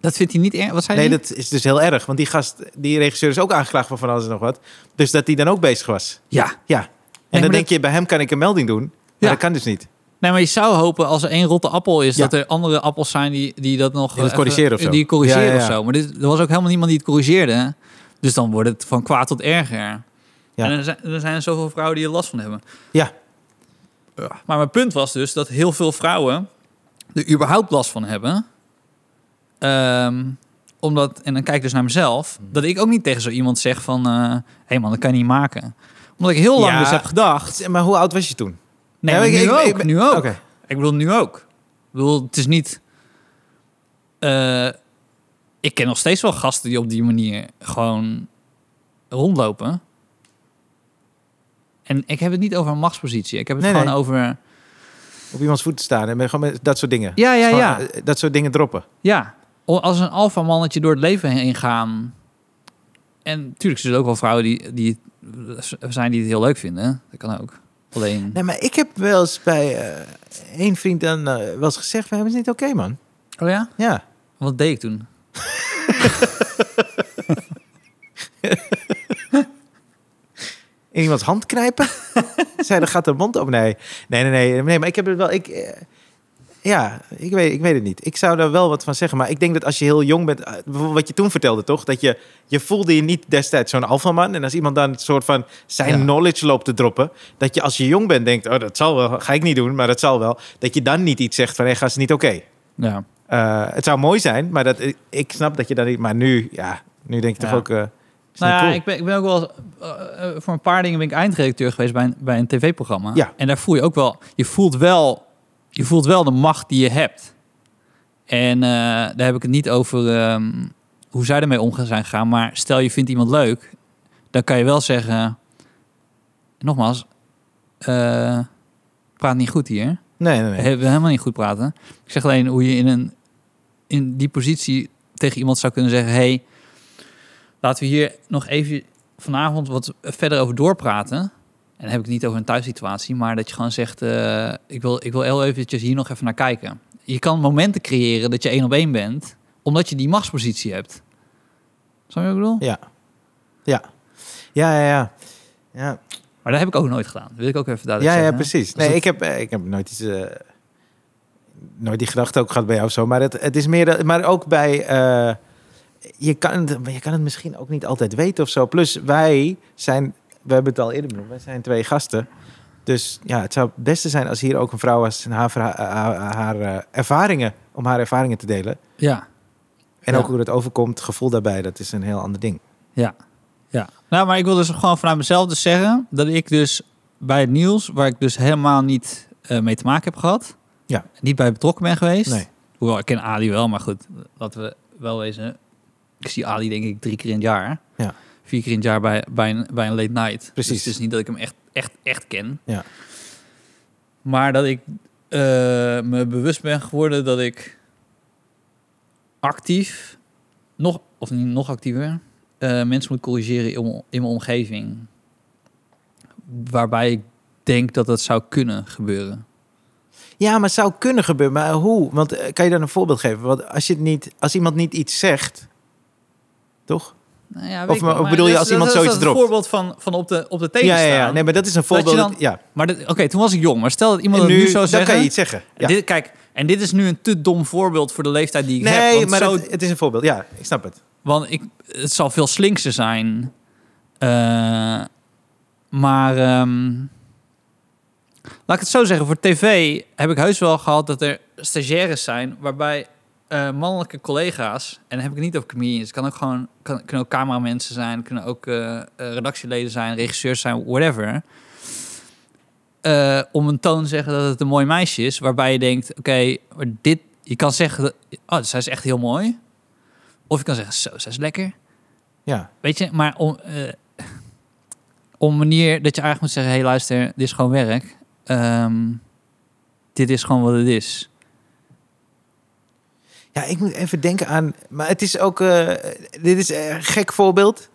B: Dat vindt hij niet erg. Wat zei
A: Nee,
B: hij?
A: dat is dus heel erg. Want die gast, die regisseur is ook aangeklaagd voor van alles en nog wat. Dus dat die dan ook bezig was.
B: Ja.
A: Ja. En dan
B: maar
A: denk je, bij hem kan ik een melding doen. Maar
B: Ja.
A: dat kan dus niet.
B: Nee, maar je zou hopen als er één rotte appel is,
A: Ja.
B: dat er andere appels zijn die, die dat nog...
A: Die dat
B: even-
A: corrigeren of zo.
B: Die corrigeren
A: Ja, ja, ja.
B: of zo. Maar dit, er was ook helemaal niemand die het corrigeerde. Dus dan wordt het van kwaad tot erger.
A: Ja.
B: En er zijn, er zijn zoveel vrouwen die er last van hebben.
A: Ja.
B: Maar mijn punt was dus dat heel veel vrouwen er überhaupt last van hebben. Ehm, omdat, en dan kijk ik dus naar mezelf,
A: Mhm.
B: dat ik ook niet tegen zo iemand zeg van... eh, Hé man, dat kan je niet maken. Omdat ik heel lang
A: Ja.
B: dus heb gedacht...
A: Maar hoe oud was je toen?
B: Nee,
A: Ja,
B: maar
A: ik-
B: nu,
A: ik-
B: ook,
A: ik ben-
B: nu ook.
A: Oké.
B: Ik bedoel, nu ook. Ik bedoel, het is niet... eh, ik ken nog steeds wel gasten die op die manier gewoon rondlopen. En ik heb het niet over een machtspositie. Ik heb het
A: Nee,
B: gewoon
A: nee.
B: over...
A: Op iemands voeten staan en met- gewoon met dat soort dingen.
B: Ja, ja,
A: Gewoon,
B: ja.
A: eh, Dat soort dingen droppen.
B: Ja, o- als een alfamannetje door het leven heen gaan. En natuurlijk zullen er ook wel vrouwen die, die het zijn die het heel leuk vinden. Dat kan ook. Alleen...
A: Nee, maar ik heb wel eens bij eh één vriend dan eh, wel eens gezegd... we hebben het niet oké, man.
B: Oh ja?
A: Ja.
B: Wat deed ik toen?
A: In iemands hand knijpen? Zij, dan gaat de mond op. Nee. Nee, nee, nee. nee maar ik heb het wel... Ik, eh, Ja, ik weet, ik weet het niet. Ik zou daar wel wat van zeggen. Maar ik denk dat als je heel jong bent... eh, bijvoorbeeld Wat je toen vertelde, toch? Dat je, je voelde je niet destijds zo'n alfaman. En als iemand dan een soort van zijn
B: Ja.
A: knowledge loopt te droppen... Dat je als je jong bent denkt... Oh, dat zal wel. Ga ik niet doen, maar dat zal wel. Dat je dan niet iets zegt van... Hé, gast, niet oké.
B: Ja.
A: Eh, het zou mooi zijn, maar dat, ik, ik snap dat je dat niet... Maar nu, ja, nu denk ik toch
B: Ja.
A: ook... eh, is niet
B: Nou ja,
A: cool.
B: ik, ben, ik ben ook wel... eens, eh, eh, voor een paar dingen ben ik eindredacteur geweest bij een, bij een tv-programma.
A: Ja.
B: En daar voel je ook wel... Je voelt wel, je voelt wel de macht die je hebt. En eh, daar heb ik het niet over ehm, hoe zij ermee omgaan zijn gegaan. Maar stel je vindt iemand leuk, dan kan je wel zeggen... Nogmaals, eh, praat niet goed hier.
A: Nee, nee,
B: We
A: nee.
B: hebben helemaal niet goed praten. Ik zeg alleen hoe je in, een, in die positie tegen iemand zou kunnen zeggen... hey, laten we hier nog even vanavond wat verder over doorpraten. En dan heb ik het niet over een thuissituatie... maar dat je gewoon zegt, eh, ik, wil, ik wil heel eventjes hier nog even naar kijken. Je kan momenten creëren dat je één op één bent... omdat je die machtspositie hebt. Snap je wat ik bedoel?
A: Ja. Ja. Ja, ja, ja. Ja,
B: Maar dat heb ik ook nooit gedaan. Dat wil ik ook even duidelijk
A: ja, ja
B: zeggen.
A: precies.
B: Dus dat-
A: Nee, ik, heb, eh, ik heb nooit iets... eh, nooit die gedachte ook gehad bij jou of zo. Maar het, het is meer... dat- Maar ook bij... eh, je, kan het, maar je kan het misschien ook niet altijd weten of zo. Plus, wij zijn... We hebben het al eerder benoemd. Wij zijn twee gasten. Dus ja, het zou het beste zijn als hier ook een vrouw was... en haar, verha- eh, haar, haar, eh, ervaringen... om haar ervaringen te delen.
B: Ja.
A: En
B: Ja.
A: ook hoe dat overkomt, gevoel daarbij. Dat is een heel ander ding.
B: Ja. ja. Nou, maar ik wil dus gewoon vanuit mezelf dus zeggen dat ik dus bij het nieuws, waar ik dus helemaal niet eh, mee te maken heb gehad,
A: Ja.
B: niet bij betrokken ben geweest.
A: Nee.
B: Hoewel, ik ken Ali wel, maar goed, laten we wel wezen. Ik zie Ali denk ik drie keer in het jaar.
A: Ja.
B: Vier keer in het jaar bij, bij, een, bij een late night.
A: Precies.
B: Dus het is niet dat ik hem echt, echt, echt ken.
A: Ja.
B: Maar dat ik eh, me bewust ben geworden dat ik actief, nog, of niet nog actiever, eh, mensen moet corrigeren in, mijn- in mijn omgeving. Waarbij ik denk dat dat zou kunnen gebeuren.
A: Ja, maar het zou kunnen gebeuren. Maar hoe? Want eh, kan je dan een voorbeeld geven? Want als, je het niet, als iemand niet iets zegt, toch?
B: Nou ja, weet
A: Of
B: ik wel,
A: maar- bedoel je
B: dat
A: als
B: is-
A: iemand
B: dat is-
A: zoiets
B: dat is
A: dropt?
B: een voorbeeld van, van op de, op de
A: Ja,
B: tegenstaan.
A: ja, ja. Nee, maar dat is een
B: je
A: voorbeeld.
B: dan-
A: ja.
B: Maar dit- oké, toen was ik jong. Maar stel dat iemand
A: En
B: dat nu
A: nu,
B: zou
A: dan
B: zeggen...
A: kan je iets zeggen. Ja.
B: Dit, kijk, en dit is nu een te dom voorbeeld voor de leeftijd die ik heb.
A: nee,
B: want
A: maar
B: zo
A: het, het is een voorbeeld. Ja, ik snap het.
B: Want ik, het zal veel slinkser zijn. Eh, maar ehm, laat ik het zo zeggen. Voor tv heb ik heus wel gehad dat er stagiaires zijn... waarbij eh, mannelijke collega's... en dan heb ik het niet over comedians. Het kan ook gewoon, kan, kunnen ook cameramensen zijn... kunnen ook eh, eh, redactieleden zijn, regisseurs zijn, whatever... Eh, om een toon te zeggen dat het een mooi meisje is... waarbij je denkt, oké, maar dit... je kan zeggen, dat- oh, zij is echt heel mooi... Of je kan zeggen, zo, ze is lekker.
A: Ja,
B: Weet je, maar om, eh, om een manier dat je eigenlijk moet zeggen... hé, hey, luister, dit is gewoon werk. Ehm, dit is gewoon wat het is.
A: ja ik moet even denken aan... Maar het is ook... eh, dit is eh, een gek voorbeeld.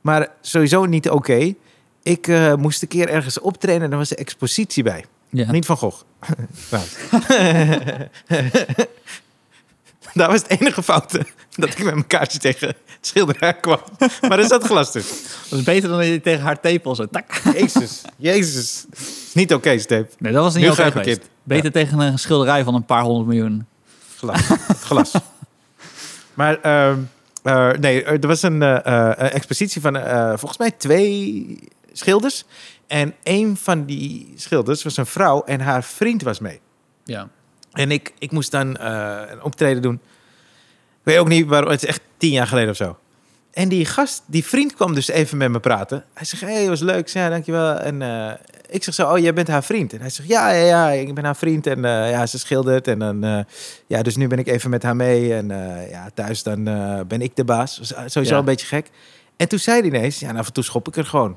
A: Maar sowieso niet oké. Ik eh, moest een keer ergens optreden en er was een expositie bij.
B: Ja.
A: Niet van Gogh. Nou. Trouwens. dat was het enige fout hè, dat ik met mijn kaartje tegen het schilderij kwam. Maar er zat glas tussen.
B: Dat is beter dan dat je tegen haar tepel zo... Tak.
A: Jezus, jezus. Niet oké, Steep.
B: Nee, dat was niet
A: Nu
B: oké
A: grijp ik
B: geweest.
A: in.
B: Beter tegen een schilderij van een paar honderd miljoen.
A: Glas. Het glas. Maar ehm, eh, nee, er was een eh, eh, een expositie van eh, volgens mij twee schilders. En een van die schilders was een vrouw en haar vriend was mee.
B: Ja.
A: En ik, ik moest dan eh, een optreden doen. Ik weet ook niet waarom. Het is echt tien jaar geleden of zo. En die gast, die vriend kwam dus even met me praten. Hij zegt, hé, hey, was leuk. Ik zeg, ja, dankjewel. En eh, ik zeg zo, oh, jij bent haar vriend. En hij zegt, ja, ja, ja, ik ben haar vriend. En eh, ja, ze schildert. En dan, eh, ja, dus nu ben ik even met haar mee. En eh, ja, thuis dan eh, ben ik de baas. Was Sowieso
B: Ja.
A: een beetje gek. En toen zei hij ineens, ja, en af en toe schop ik er gewoon.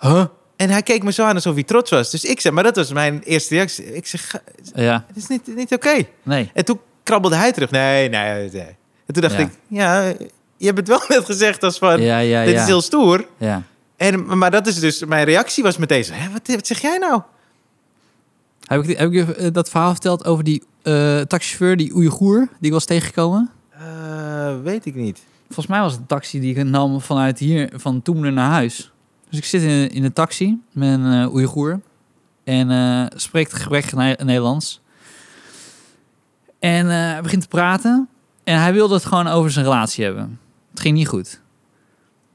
B: Huh?
A: En hij keek me zo aan alsof hij trots was. Dus ik zeg, maar dat was mijn eerste reactie. Ik zeg, "Ga-
B: Ja,
A: het is niet, niet oké.
B: nee.
A: En toen krabbelde hij terug. Nee, nee, nee. En toen dacht
B: Ja.
A: ik, ja, je hebt het wel net gezegd als van,
B: Ja, ja,
A: Eh, dit
B: ja.
A: is heel stoer.
B: ja.
A: En, maar dat is dus, mijn reactie was meteen zo, hè, wat, wat zeg jij nou?
B: Heb ik, die- heb ik je eh, dat verhaal verteld over die eh, taxichauffeur, die Oeigoer... die ik was tegengekomen?
A: Eh, weet ik niet.
B: Volgens mij was het een taxi die ik nam vanuit hier, van Toemler naar huis. Dus ik zit in, in een taxi met een eh Oeigoer. En eh, spreekt gebrek Nederlands. En eh, hij begint te praten. En hij wilde het gewoon over zijn relatie hebben. Het ging niet goed.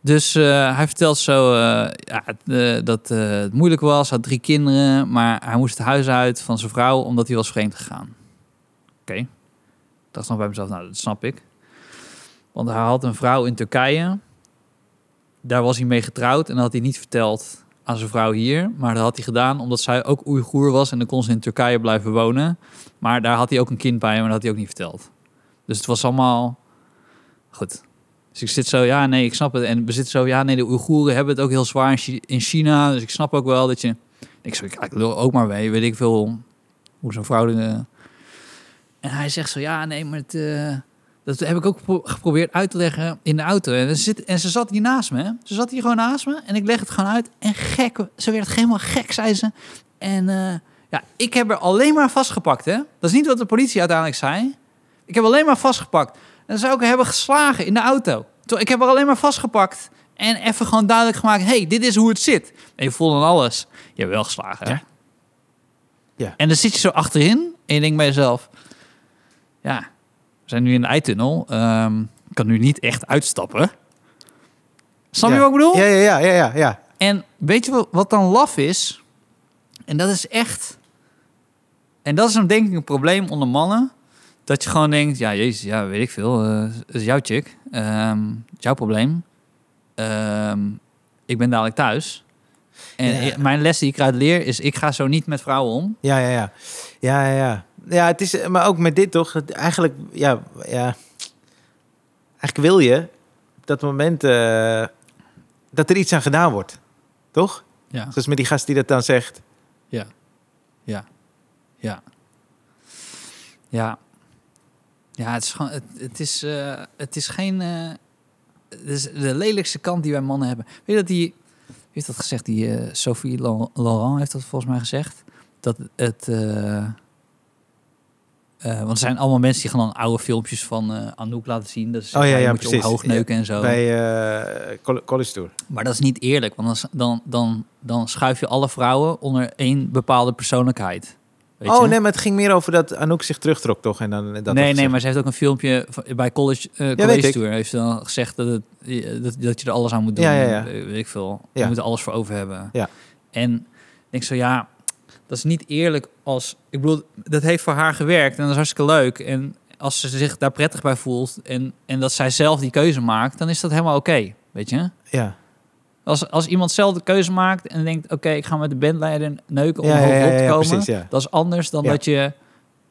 B: Dus eh, hij vertelt zo eh, ja, eh, dat eh, het moeilijk was. Hij had drie kinderen. Maar hij moest het huis uit van zijn vrouw omdat hij was vreemd gegaan. Oké. Ik dacht nog bij mezelf, nou dat snap ik. Want hij had een vrouw in Turkije. Daar was hij mee getrouwd. En dat had hij niet verteld aan zijn vrouw hier. Maar dat had hij gedaan omdat zij ook Oeigoer was. En dan kon ze in Turkije blijven wonen. Maar daar had hij ook een kind bij, maar dat had hij ook niet verteld. Dus het was allemaal goed. Dus ik zit zo, ja, nee, ik snap het. En we zitten zo, ja, nee, de Oeigoeren hebben het ook heel zwaar in Chi- in China. Dus ik snap ook wel dat je... Ik zo, ik ik lul ook maar mee, weet ik veel hoe zo'n vrouw... eh. En hij zegt zo, ja, nee, maar het, eh, dat heb ik ook gepro- geprobeerd uit te leggen in de auto. En ze, zit, en ze zat hier naast me, hè. Ze zat hier gewoon naast me en ik leg het gewoon uit. En gek, ze werd helemaal gek, zei ze. En... eh, ja, ik heb er alleen maar vastgepakt, hè? Dat is niet wat de politie uiteindelijk zei. Ik heb alleen maar vastgepakt. En zou ik hebben geslagen in de auto. Toen- Ik heb er alleen maar vastgepakt. En even gewoon duidelijk gemaakt: hey, dit is hoe het zit. En je voelde dan alles. Je hebt wel geslagen. hè?
A: Ja. Ja.
B: En dan zit je zo achterin. En je denkt bij jezelf: ja, we zijn nu in de eitunnel. Ehm, ik kan nu niet echt uitstappen. Snap je
A: Ja.
B: wat ik bedoel?
A: Ja, ja, ja, ja, ja. ja.
B: En weet je wat- wat dan laf is? En dat is echt... En dat is dan denk ik een probleem onder mannen. Dat je gewoon denkt, ja, jezus, ja, weet ik veel. eh, Het is jouw chick. Ehm, het is jouw probleem. Ehm, ik ben dadelijk thuis. En
A: Ja.
B: ik- mijn les die ik eruit leer is, ik ga zo niet met vrouwen om.
A: Ja, ja, ja. Ja, ja, ja. Ja, het is, eh, maar ook met dit toch? Het- Eigenlijk, ja, ja. Eigenlijk wil je op dat moment eh, dat er iets aan gedaan wordt. Toch?
B: Ja,
A: Zoals met die gast die dat dan zegt.
B: ja, ja, ja. Ja. Ja, het is gewoon, het, het is, eh, het is geen, eh, het is de lelijkste kant die wij mannen hebben. Weet je dat die, wie heeft dat gezegd? Die eh, Sophie Lau- Laurent heeft dat volgens mij gezegd. Dat het, eh, eh, want er zijn allemaal mensen die gewoon oude filmpjes van eh, Anouk laten zien. Dat ze
A: Oh ja,
B: zeggen,
A: ja,
B: je moet je
A: precies.
B: omhoog neuken en zo.
A: Bij eh, coll- College Tour.
B: Maar dat is niet eerlijk, want dan, dan, dan, dan schuif je alle vrouwen onder één bepaalde persoonlijkheid. Weet
A: oh
B: je?
A: nee, maar het ging meer over dat Anouk zich terugtrok, toch? En dan, eh, dat
B: nee,
A: had
B: nee,
A: gezegd.
B: maar ze heeft ook een filmpje van- bij college, eh,
A: weet
B: college
A: ik.
B: tour. Heeft ze dan gezegd dat, het, dat, dat je er alles aan moet doen.
A: Ja, ja, ja.
B: Eh, Weet ik veel. Je
A: Ja.
B: moet er alles voor over hebben.
A: Ja.
B: En ik denk zo, ja, dat is niet eerlijk als... Ik bedoel, dat heeft voor haar gewerkt en dat is hartstikke leuk. En als ze zich daar prettig bij voelt en, en dat zij zelf die keuze maakt, dan is dat helemaal oké. weet je?
A: Ja,
B: Als, als iemand zelf de keuze maakt en denkt... oké, ik ga met de bandleider neuken om
A: ja, ja,
B: hoog
A: ja,
B: op
A: ja,
B: te
A: ja,
B: komen.
A: precies. Ja.
B: Dat is anders dan
A: Ja.
B: dat je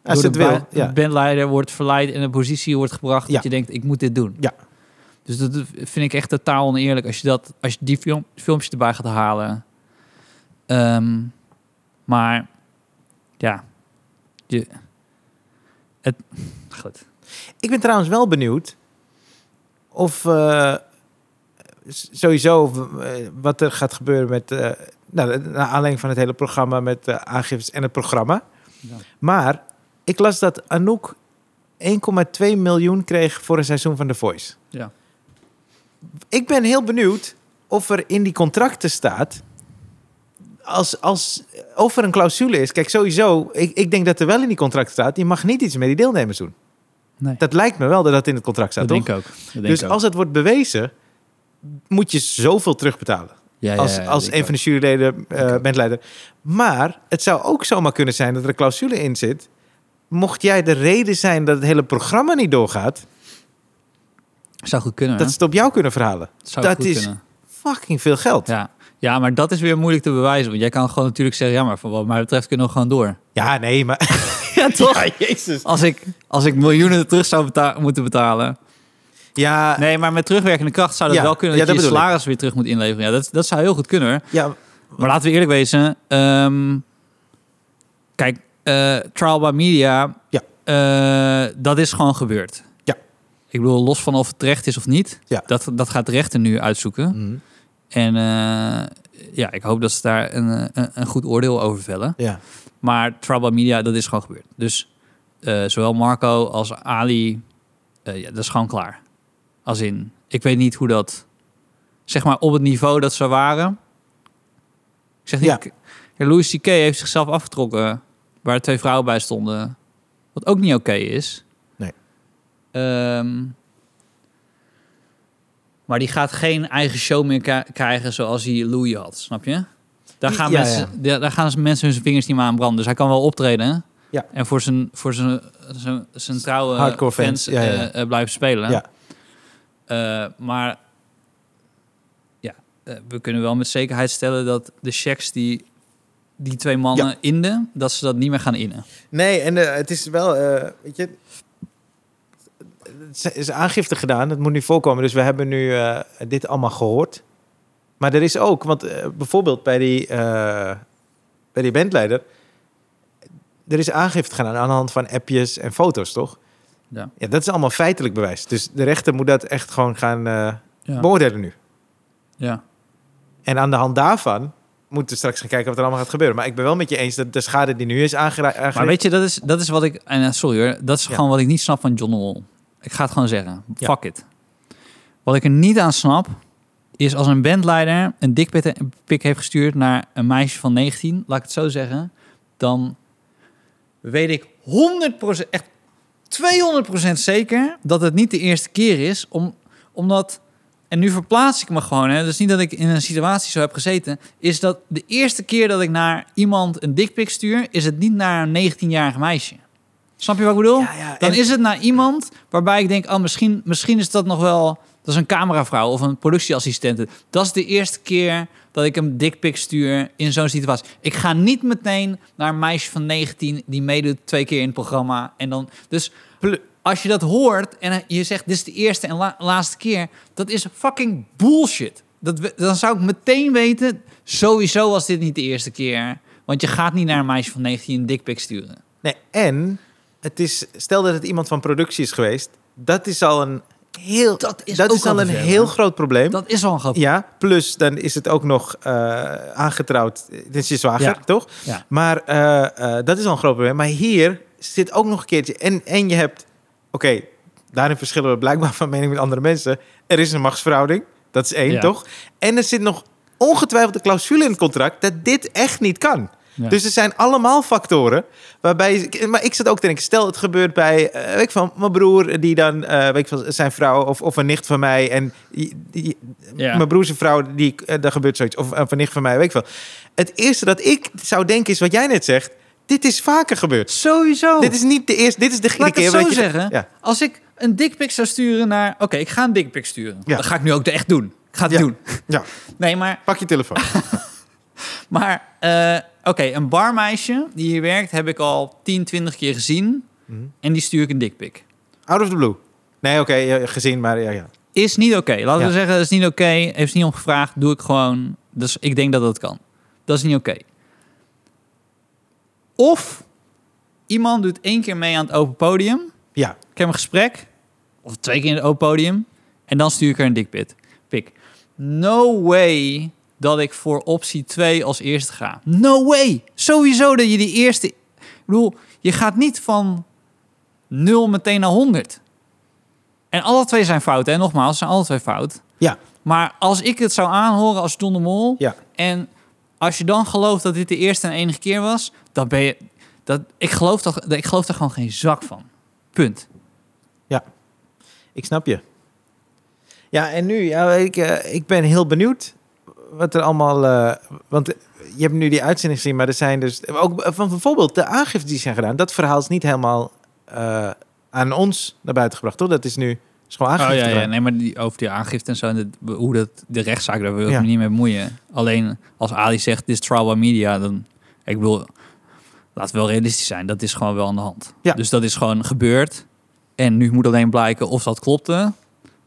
A: Als
B: door
A: het
B: de
A: wil.
B: ba-
A: Ja.
B: bandleider wordt verleid en in een positie wordt gebracht
A: Ja.
B: dat je denkt, ik moet dit doen.
A: Ja.
B: Dus dat vind ik echt totaal oneerlijk als je, dat, als je die film, filmpjes erbij gaat halen. Ehm, maar ja, je, het, goed.
A: Ik ben trouwens wel benieuwd of eh, s- sowieso of, eh, wat er gaat gebeuren met, eh nou, naar aanleiding van het hele programma met eh, aangiftes en het programma.
B: Ja.
A: Maar ik las dat Anouk 1,2 miljoen kreeg voor een seizoen van The Voice.
B: Ja.
A: Ik ben heel benieuwd of er in die contracten staat. Als, als, of er een clausule is. Kijk, sowieso. Ik, ik denk dat er wel in die contracten staat. Je mag niet iets met die deelnemers doen.
B: Nee, dat,
A: Dat lijkt me wel dat dat in het contract staat, toch?
B: denk ik ook. Dat denk
A: Dus
B: ik ook.
A: als het wordt bewezen, moet je zoveel terugbetalen.
B: Ja, ja,
A: als
B: ja,
A: als
B: denk
A: een
B: ik
A: van de juryleden, eh
B: Denk ik ook.
A: bandleider. Maar het zou ook zomaar kunnen zijn dat er een clausule in zit. Mocht jij de reden zijn dat het hele programma niet doorgaat,
B: ook. Zou goed kunnen.
A: dat ze
B: hè?
A: het op jou kunnen verhalen.
B: Zou
A: dat
B: goed
A: is-
B: kunnen.
A: Fucking veel geld. Ja,
B: Ja. ja, maar dat is weer moeilijk te bewijzen. Want jij kan gewoon natuurlijk zeggen, ja, maar van wat mij betreft kunnen we gewoon door.
A: nee, maar.
B: Ja, toch?
A: Ja, Jezus.
B: Als ik, als ik miljoenen terug zou beta- moeten betalen.
A: Ja,
B: Nee, maar met terugwerkende kracht zou dat
A: Ja,
B: wel kunnen. Dat,
A: ja,
B: je
A: dat
B: je
A: bedoel ik.
B: salaris weer terug moet inleveren. Ja, dat, dat zou heel goed kunnen. hoor.
A: ja,
B: Maar laten we eerlijk wezen. ehm, kijk, eh, trial by media.
A: Ja.
B: eh, dat is gewoon gebeurd.
A: Ja.
B: Ik bedoel, los van of het terecht is of niet.
A: Ja.
B: Dat, dat gaat de rechter nu uitzoeken.
A: Mm,
B: En eh, ja, ik hoop dat ze daar een, eh, een, een goed oordeel over vellen.
A: ja.
B: Maar Trouble Media, dat is gewoon gebeurd. Dus eh, zowel Marco als Ali, eh, ja, dat is gewoon klaar. Als in, ik weet niet hoe dat... Zeg maar op het niveau dat ze waren. Ik zeg niet...
A: Ja.
B: Ja. Louis C.K. heeft zichzelf afgetrokken... waar twee vrouwen bij stonden... Wat ook niet oké is.
A: Nee.
B: Ehm, maar die gaat geen eigen show meer ka- krijgen zoals hij Louis had, snap je? Daar
A: Die-
B: gaan,
A: ja,
B: mensen, da- Daar gaan mensen hun vingers niet meer aan branden. Dus hij kan wel optreden.
A: Ja.
B: En voor zijn, voor zijn, zijn, zijn trouwe
A: Hardcore fans,
B: fans,
A: ja, ja.
B: eh, eh, blijven spelen.
A: Ja.
B: Eh, maar ja, eh, we kunnen wel met zekerheid stellen dat de checks die die twee mannen inden, dat ze dat niet meer gaan innen.
A: Nee, en eh, het is wel, eh, weet je, het is aangifte gedaan, het moet nu voorkomen. Dus we hebben nu eh, dit allemaal gehoord. Maar er is ook, want eh, bijvoorbeeld bij die, eh, bij die bandleider, er is aangifte gedaan aan de hand van appjes en foto's, toch?
B: Ja.
A: Ja, dat is allemaal feitelijk bewijs. Dus de rechter moet dat echt gewoon gaan eh,
B: Ja.
A: beoordelen nu.
B: ja.
A: En aan de hand daarvan moeten we straks gaan kijken wat er allemaal gaat gebeuren. Maar ik ben wel met je eens dat de schade die nu is aangericht...
B: Maar weet je, dat is, dat is wat ik... En eh, sorry hoor, dat is
A: Ja.
B: gewoon wat ik niet snap van John de Mol. Ik ga het gewoon zeggen.
A: Ja.
B: Fuck it. Wat ik er niet aan snap, is als een bandleider een dikpik heeft gestuurd naar een meisje van 19, laat ik het zo zeggen, dan weet ik 100%, echt 200% zeker dat het niet de eerste keer is, om, omdat... En nu verplaats ik me gewoon. Hè. Dus niet dat ik in een situatie zo heb gezeten. Is dat de eerste keer dat ik naar iemand een dikpik stuur, is het niet naar een 19-jarig meisje. Snap je wat ik bedoel?
A: Ja, ja,
B: Dan
A: en-
B: is het naar iemand waarbij ik denk, oh, misschien, misschien is dat nog wel. Dat is een cameravrouw of een productieassistente. Dat is de eerste keer dat ik een dikpik stuur in zo'n situatie. Ik ga niet meteen naar een meisje van 19 die meedoet twee keer in het programma. En dan, dus
A: Plu-
B: als je dat hoort en je zegt dit is de eerste en la- laatste keer, dat is fucking bullshit. Dat, we- dan zou ik meteen weten, sowieso was dit niet de eerste keer. Want je gaat niet naar een meisje van 19 een dikpik sturen.
A: Nee, en het is, stel dat het iemand van productie is geweest, dat is al een heel,
B: Dat is
A: dat
B: ook
A: is al
B: al
A: een
B: vervelend.
A: heel groot probleem.
B: Dat is al een grap.
A: Ja, plus dan is het ook nog eh, aangetrouwd. Dit is je zwager,
B: Ja.
A: toch?
B: Ja.
A: Maar eh, eh, dat is al een groot probleem. Maar hier zit ook nog een keertje. En, en je hebt, oké, daarin verschillen we blijkbaar van mening met andere mensen. Er is een machtsverhouding, dat is één,
B: Ja.
A: toch? En er zit nog ongetwijfeld een clausule in het contract dat dit echt niet kan.
B: Ja.
A: Dus er zijn allemaal factoren waarbij... Maar ik zat ook te denken, stel het gebeurt bij, eh, weet ik van, mijn broer... die dan, eh, weet ik van, zijn vrouw of, of een nicht van mij... en die- die-
B: Ja.
A: mijn broers en vrouw, die, eh, daar gebeurt zoiets. Of een nicht van mij, weet ik veel. Het eerste dat ik zou denken is wat jij net zegt. Dit is vaker gebeurd.
B: Sowieso.
A: Dit is niet de eerste, dit is de
B: Laat
A: vierde
B: ik het
A: keer.
B: zo
A: dat je-
B: zeggen.
A: Ja.
B: Als ik een dikpik zou sturen naar... Oké, ik ga een dikpik sturen.
A: Ja.
B: Dan ga ik nu ook de echt doen. Ik ga het
A: Ja.
B: doen.
A: ja,
B: Nee, maar
A: pak je telefoon.
B: Maar eh, oké, een barmeisje die hier werkt heb ik al 10, 20 keer gezien.
A: Mhm.
B: En die stuur ik een dikpik.
A: Out of the blue. Nee, oké, eh, gezien, maar ja, ja.
B: Is niet oké. Laten
A: Ja.
B: we zeggen, dat is niet oké. Heeft ze niet om gevraagd. Doe ik gewoon. Dus ik denk dat dat kan. Dat is niet oké. Of iemand doet één keer mee aan het open podium.
A: Ja,
B: Ik heb een gesprek. Of twee keer in het open podium. En dan stuur ik er een dikpit. Pik. No way dat ik voor optie 2 als eerste ga. No way. Sowieso dat je die eerste... Ik bedoel, je gaat niet van 0 meteen naar 100. En alle twee zijn fout. En nogmaals, zijn alle twee fout.
A: ja,
B: Maar als ik het zou aanhoren als John de Mol...
A: ja.
B: En als je dan gelooft dat dit de eerste en enige keer was, dan ben je. Dat, ik, geloof toch, ik geloof er gewoon geen zak van. Punt.
A: Ik snap je. Ja, en nu, ja, ik, eh, ik ben heel benieuwd wat er allemaal. eh, want je hebt nu die uitzending gezien, maar er zijn dus. Ook eh, van bijvoorbeeld de aangifte die zijn gedaan, dat verhaal is niet helemaal eh, aan ons naar buiten gebracht, toch? Dat is nu is
B: Oh,
A: gewoon aangifte. gedaan.
B: nee, maar die, over die aangifte en zo, en dat- hoe dat, de rechtszaak, daar wil ik
A: Ja.
B: me niet mee bemoeien. Alleen als Ali zegt, dit is trial by media, dan. Ik bedoel, laat wel realistisch zijn, dat is gewoon wel aan de hand.
A: Ja.
B: Dus dat is gewoon gebeurd. En nu moet alleen blijken of dat klopte.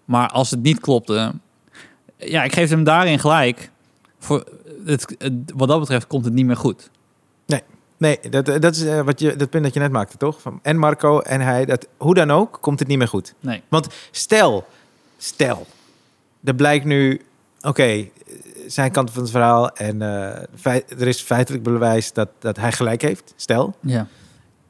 B: Maar als het niet klopte, ja, ik geef hem daarin gelijk. Voor, het, het- wat dat betreft komt het niet meer goed.
A: Nee, dat, eh, dat is eh, wat je, dat punt dat je net maakte, toch? Van, en Marco en hij, dat, hoe dan ook, komt het niet meer goed.
B: Nee.
A: Want stel, stel, er blijkt nu, oké, zijn kant van het verhaal en eh, feit- er is feitelijk bewijs dat, dat hij gelijk heeft, stel.
B: Ja.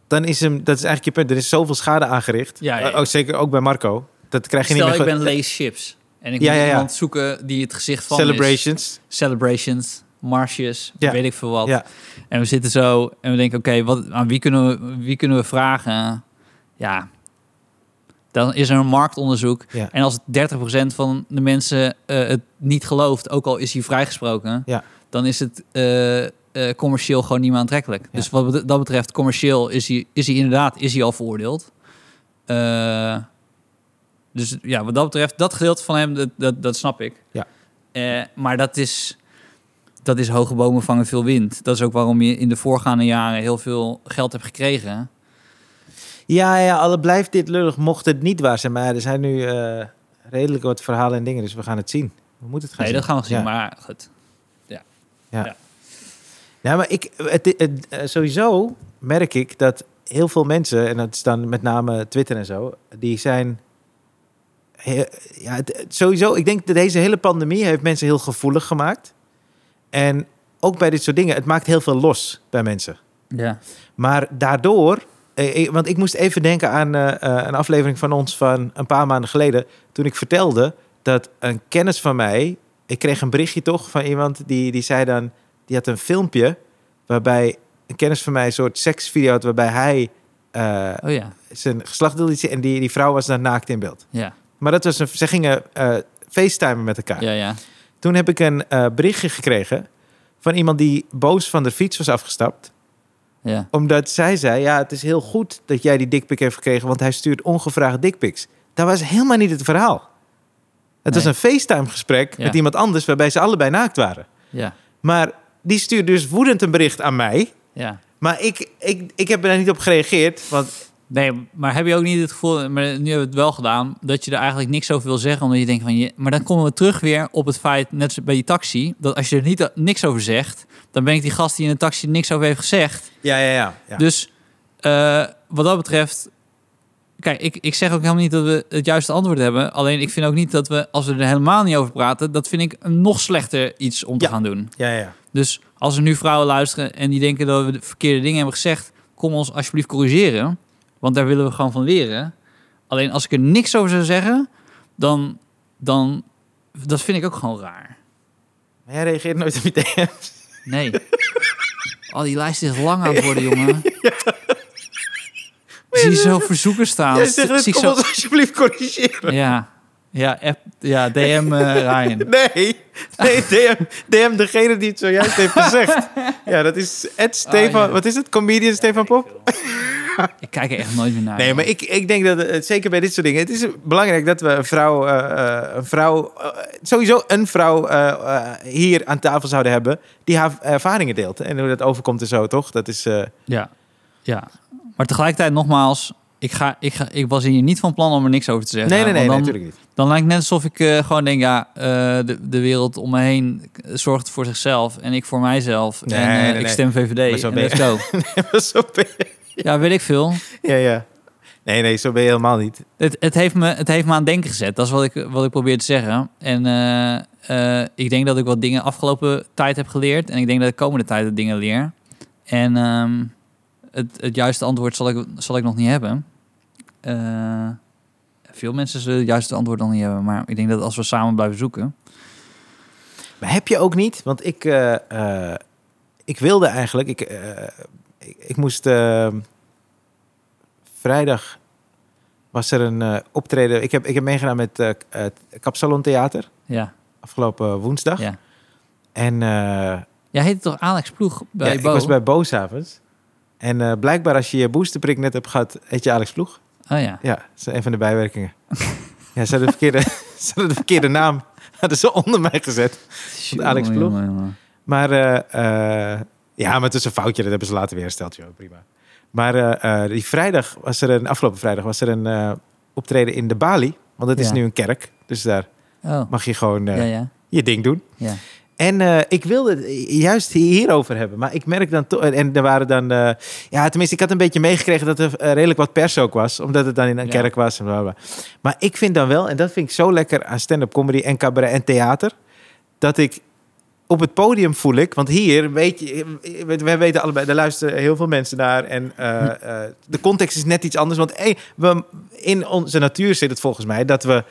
A: Dan is hem, dat is eigenlijk je punt, er is zoveel schade aangericht.
B: Ja, ja.
A: Eh, ook zeker ook bij Marco. Dat krijg je
B: Stel,
A: niet
B: ik
A: meer
B: ben
A: goed.
B: Lace Chips. En ik
A: Ja,
B: moet
A: ja, ja.
B: iemand zoeken die het gezicht van dus.
A: Celebrations.
B: is. Celebrations. marsjes,
A: Ja.
B: weet ik veel wat.
A: Ja.
B: En we zitten zo en we denken, oké, wat aan wie kunnen, we, wie kunnen we vragen? Ja, dan is er een marktonderzoek.
A: Ja.
B: En als 30% van de mensen eh, het niet gelooft, ook al is hij vrijgesproken,
A: Ja.
B: dan is het eh, eh, commercieel gewoon niet meer aantrekkelijk.
A: Ja.
B: Dus wat bet- dat betreft, commercieel is hij, is hij inderdaad is hij al veroordeeld. Eh, dus ja, wat dat betreft, dat gedeelte van hem, dat, dat, dat snap ik.
A: Ja.
B: Eh, maar dat is, dat is hoge bomen vangen veel wind. Dat is ook waarom je in de voorgaande jaren heel veel geld hebt gekregen.
A: Ja, ja, alle blijft dit lullig, mocht het niet waar zijn. Maar ja, er zijn nu eh, redelijk wat verhalen en dingen, dus we gaan het zien. We moeten het gaan
B: Nee,
A: zien.
B: dat gaan we zien,
A: Ja.
B: maar goed.
A: Ja, maar ik, het, het- eh, sowieso merk ik dat heel veel mensen, en dat is dan met name Twitter en zo, die zijn. he- Ja, het- het- sowieso, ik denk dat deze hele pandemie heeft mensen heel gevoelig gemaakt. En ook bij dit soort dingen, het maakt heel veel los bij mensen.
B: Ja.
A: Maar daardoor, eh, eh, want ik moest even denken aan eh, eh, een aflevering van ons van een paar maanden geleden. Toen ik vertelde dat een kennis van mij. Ik kreeg een berichtje toch van iemand die, die zei dan. Die had een filmpje waarbij een kennis van mij een soort seksvideo had. Waarbij hij eh,
B: Oh ja,
A: zijn geslacht wilde zien. En die, die vrouw was dan naakt in beeld.
B: ja,
A: Maar dat was een, ze gingen eh facetimen met elkaar.
B: ja, ja.
A: Toen heb ik een eh, berichtje gekregen van iemand die boos van de fiets was afgestapt
B: ja.
A: omdat zij zei, ja, het is heel goed dat jij die dikpik heeft gekregen, want hij stuurt ongevraagd dikpiks. Dat was helemaal niet het verhaal. Het
B: Nee.
A: was een FaceTime-gesprek
B: Ja.
A: met iemand anders waarbij ze allebei naakt waren.
B: ja.
A: Maar die stuurt dus woedend een bericht aan mij.
B: ja.
A: Maar ik, ik, ik heb er daar niet op gereageerd, want
B: Nee, maar heb je ook niet het gevoel, maar nu hebben we het wel gedaan, dat je er eigenlijk niks over wil zeggen, omdat je denkt van je. Maar dan komen we terug weer op het feit, net als bij die taxi, dat als je er niet, niks over zegt, dan ben ik die gast die in de taxi niks over heeft gezegd.
A: ja, ja, ja. ja.
B: Dus eh, wat dat betreft, kijk, ik, ik zeg ook helemaal niet dat we het juiste antwoord hebben. Alleen ik vind ook niet dat we, als we er helemaal niet over praten, dat vind ik een nog slechter iets om te
A: Ja.
B: gaan doen.
A: ja, ja.
B: Dus als er nu vrouwen luisteren en die denken dat we de verkeerde dingen hebben gezegd, kom ons alsjeblieft corrigeren. Want daar willen we gewoon van leren. Alleen als ik er niks over zou zeggen, dan, dan dat vind ik ook gewoon raar.
A: Maar jij reageert nooit op je DM's.
B: Nee. Al die lijst is lang aan het worden, jongen. Zie je zo verzoeken staan.
A: Jij zegt,
B: Zie
A: kom
B: ik zo...
A: ons alsjeblieft corrigeren.
B: Ja, ja, app, ja DM eh Ryan.
A: Nee, nee DM, DM degene die het zojuist heeft gezegd. Ja, dat is Ed Stefan,
B: Ah, ja.
A: wat is het? Comedian Stefan Pop?
B: Ik kijk er echt nooit meer naar.
A: Nee, maar ik, ik denk dat het, zeker bij dit soort dingen. Het is belangrijk dat we een vrouw. eh, eh, een vrouw eh, sowieso een vrouw eh, eh, hier aan tafel zouden hebben. die haar ervaringen deelt. En hoe dat overkomt en zo, toch? Dat is. eh,
B: Ja, ja. Maar tegelijkertijd nogmaals, ik, ga, ik, ga, ik was hier niet van plan om er niks over te zeggen.
A: nee, nee, nee,
B: nou, Want dan,
A: natuurlijk niet.
B: dan lijkt het net alsof ik eh, gewoon denk, ja, eh, de, de wereld om me heen eh, zorgt voor zichzelf en ik voor mijzelf.
A: Nee,
B: en eh,
A: nee,
B: ik
A: nee.
B: stem VVD
A: Maar zo
B: en
A: ben je-
B: let's go.
A: zo ben je,
B: ja, weet ik veel.
A: ja, ja. Nee, nee, zo ben je helemaal niet.
B: Het, het, heeft me, het heeft me aan het denken gezet. Dat is wat ik, wat ik probeer te zeggen. En eh, eh, ik denk dat ik wat dingen afgelopen tijd heb geleerd. En ik denk dat ik komende tijd wat dingen leer. En ehm, het, het juiste antwoord zal ik, zal ik nog niet hebben. Eh, veel mensen zullen het juiste antwoord nog niet hebben. Maar ik denk dat als we samen blijven zoeken.
A: Maar heb je ook niet? Want ik, eh, eh, ik wilde eigenlijk. Ik, eh, ik, ik moest. eh, vrijdag was er een eh, optreden. Ik heb, ik heb meegedaan met eh, k- het Kapsalon Theater.
B: Ja.
A: Afgelopen eh, woensdag.
B: Ja.
A: En eh,
B: Jij heette toch Alex Ploeg bij
A: ja,
B: Bo?
A: ik was bij Bo s'avonds. En eh, blijkbaar als je je boosterprik net hebt gehad, eet je Alex Ploeg.
B: Oh ja.
A: Ja, dat is een van de bijwerkingen. ja, ze hadden de verkeerde, ze hadden de verkeerde naam hadden ze onder mij gezet. Alex
B: Jongen,
A: Ploeg.
B: jongen, jongen.
A: Maar eh, eh, ja, maar het is een foutje. Dat hebben ze later weer hersteld, joh. Prima. Maar eh, eh, die vrijdag was er een, afgelopen vrijdag was er een eh, optreden in de Bali. Want het is
B: Ja.
A: nu een kerk. Dus daar
B: Oh.
A: mag je gewoon eh,
B: Ja, ja.
A: je ding doen.
B: Ja.
A: En eh, ik wilde het juist hierover hebben. Maar ik merk dan toch... En, en er waren dan... eh, ja, tenminste, ik had een beetje meegekregen dat er eh, redelijk wat pers ook was. Omdat het dan in een
B: Ja.
A: kerk was. En bla, bla, bla. Maar ik vind dan wel... En dat vind ik zo lekker aan stand-up comedy en cabaret en theater. Dat ik op het podium voel ik... Want hier, weet je... we- We weten allebei, daar luisteren heel veel mensen naar. En eh, eh, de context is net iets anders. Want eh, we, in onze natuur zit het volgens mij dat we...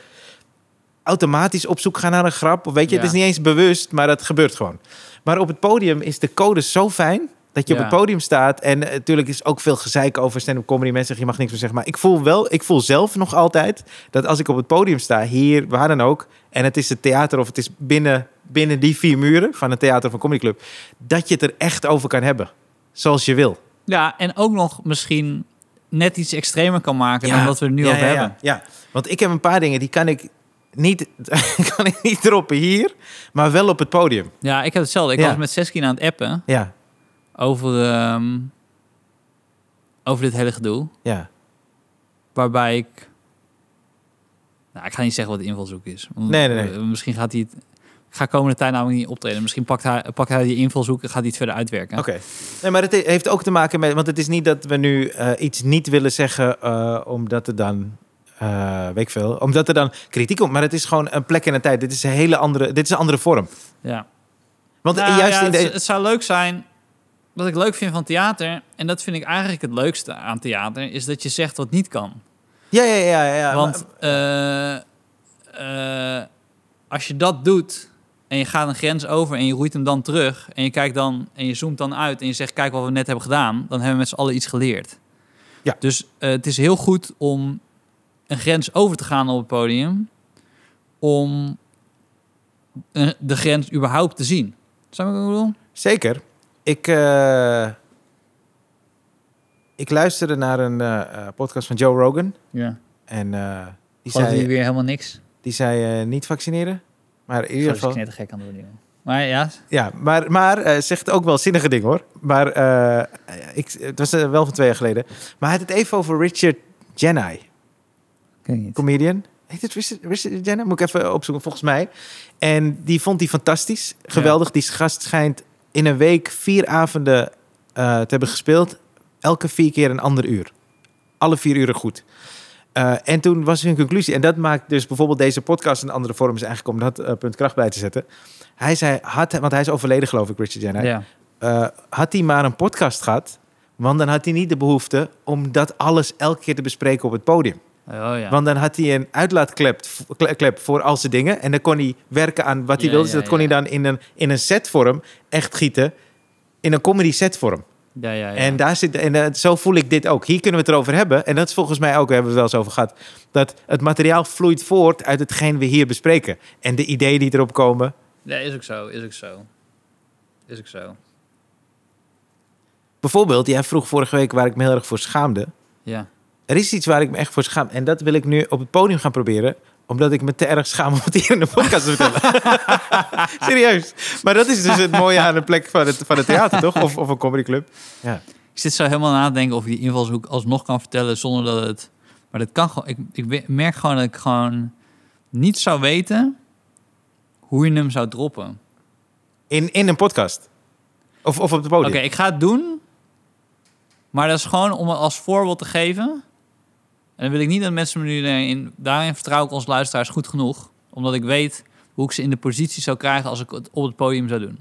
A: automatisch op zoek gaan naar een grap. Of weet je,
B: Ja.
A: het is niet eens bewust, maar dat gebeurt gewoon. Maar op het podium is de code zo fijn dat je op
B: Ja.
A: het podium staat. En eh, natuurlijk is ook veel gezeik over stand-up comedy. Mensen zeggen, je mag niks meer zeggen. Maar ik voel wel, ik voel zelf nog altijd dat als ik op het podium sta, hier, waar dan ook. En het is het theater of het is binnen, binnen die vier muren van een theater of een comedyclub. Dat je het er echt over kan hebben. Zoals je wil.
B: Ja, en ook nog misschien net iets extremer kan maken
A: Ja.
B: dan wat we er nu
A: ja,
B: over
A: ja, ja,
B: hebben.
A: Ja, want ik heb een paar dingen die kan ik niet, kan ik niet droppen hier, maar wel op het podium.
B: Ja, ik heb hetzelfde. Ik
A: Ja.
B: was met Seskin aan het appen
A: Ja,
B: over, ehm, over dit hele gedoe.
A: ja.
B: Waarbij ik... Nou, ik ga niet zeggen wat de invalshoek is. Want
A: Nee, nee, nee.
B: eh, Misschien gaat hij het... Ik ga komende tijd namelijk niet optreden. Misschien pakt hij, pakt hij die invalshoek en gaat hij het verder uitwerken.
A: Oké. Nee, maar het he- heeft ook te maken met, want het is niet dat we nu eh, iets niet willen zeggen, eh, omdat er dan, eh, weet ik veel, omdat er dan kritiek komt. Maar het is gewoon een plek en een tijd. Dit is een hele andere, dit is een andere vorm.
B: Ja.
A: Want eh,
B: Nou
A: juist
B: ja,
A: in de,
B: het, het zou leuk zijn. Wat ik leuk vind van theater, en dat vind ik eigenlijk het leukste aan theater, is dat je zegt wat niet kan.
A: ja, ja, ja, ja, ja.
B: Want eh, eh, als je dat doet en je gaat een grens over en je roeit hem dan terug en je kijkt dan en je zoomt dan uit en je zegt kijk wat we net hebben gedaan, dan hebben we met z'n allen iets geleerd.
A: Ja.
B: Dus eh, het is heel goed om een grens over te gaan op het podium, om eh, de grens überhaupt te zien. Snap je wat ik bedoel?
A: Zeker. Ik, eh, ik luisterde naar een eh, eh, podcast van Joe Rogan.
B: Ja.
A: En eh, die,
B: Gewoon
A: zei,
B: die weer helemaal niks.
A: die zei eh, niet vaccineren. Maar in ieder geval.
B: net gek aan het worden. Maar ja,
A: Ja, maar, maar eh, zegt ook wel zinnige dingen hoor. Maar eh, ik, het was eh, wel van twee jaar geleden. Maar hij had het even over Richard Jenai,
B: kan niet.
A: comedian. Heet het Richard, Richard Jenai? Moet ik even opzoeken, volgens mij. En die vond hij fantastisch. Geweldig. Die gast schijnt in een week vier avonden eh, te hebben gespeeld. Elke vier keer een ander uur. Alle vier uren goed. Eh, en toen was hun conclusie, en dat maakt dus bijvoorbeeld deze podcast een andere vorm is eigenlijk om dat eh, punt kracht bij te zetten. Hij zei, had, want hij is overleden geloof ik, Richard Jenner.
B: Ja.
A: Eh, had hij maar een podcast gehad, want dan had hij niet de behoefte om dat alles elke keer te bespreken op het podium.
B: Oh ja.
A: Want dan had hij een uitlaatklep kle- klep voor al zijn dingen en dan kon hij werken aan wat hij
B: Ja,
A: wilde.
B: ja,
A: dus dat kon
B: ja.
A: hij dan in een, in een setvorm echt gieten, in een comedy setvorm.
B: ja, ja, ja.
A: En, daar zit, en eh, zo voel ik dit ook. Hier kunnen we het erover hebben. En dat is volgens mij ook, daar hebben we het wel eens over gehad. Dat het materiaal vloeit voort uit hetgeen we hier bespreken. En de ideeën die erop komen.
B: Ja, is ook zo, is ook zo. Is ook zo.
A: Bijvoorbeeld, jij vroeg vorige week waar ik me heel erg voor schaamde.
B: Ja.
A: Er is iets waar ik me echt voor schaam. En dat wil ik nu op het podium gaan proberen. Omdat ik me te erg schaam om het hier in de podcast te vertellen. Serieus. Maar dat is dus het mooie aan de plek van het, van het theater, toch? Of, of een comedyclub. Ja.
B: Ik zit zo helemaal na te denken of ik die invalshoek alsnog kan vertellen zonder dat het... Maar dat kan gewoon... Ik, ik we- merk gewoon dat ik gewoon niet zou weten hoe je hem zou droppen.
A: In, in een podcast. Of, of op het podium.
B: Oké, ik ga het doen. Maar dat is gewoon om het als voorbeeld te geven. En dan wil ik niet dat mensen me nu daarin... Daarin vertrouw ik ons luisteraars goed genoeg. Omdat ik weet hoe ik ze in de positie zou krijgen... als ik het op het podium zou doen.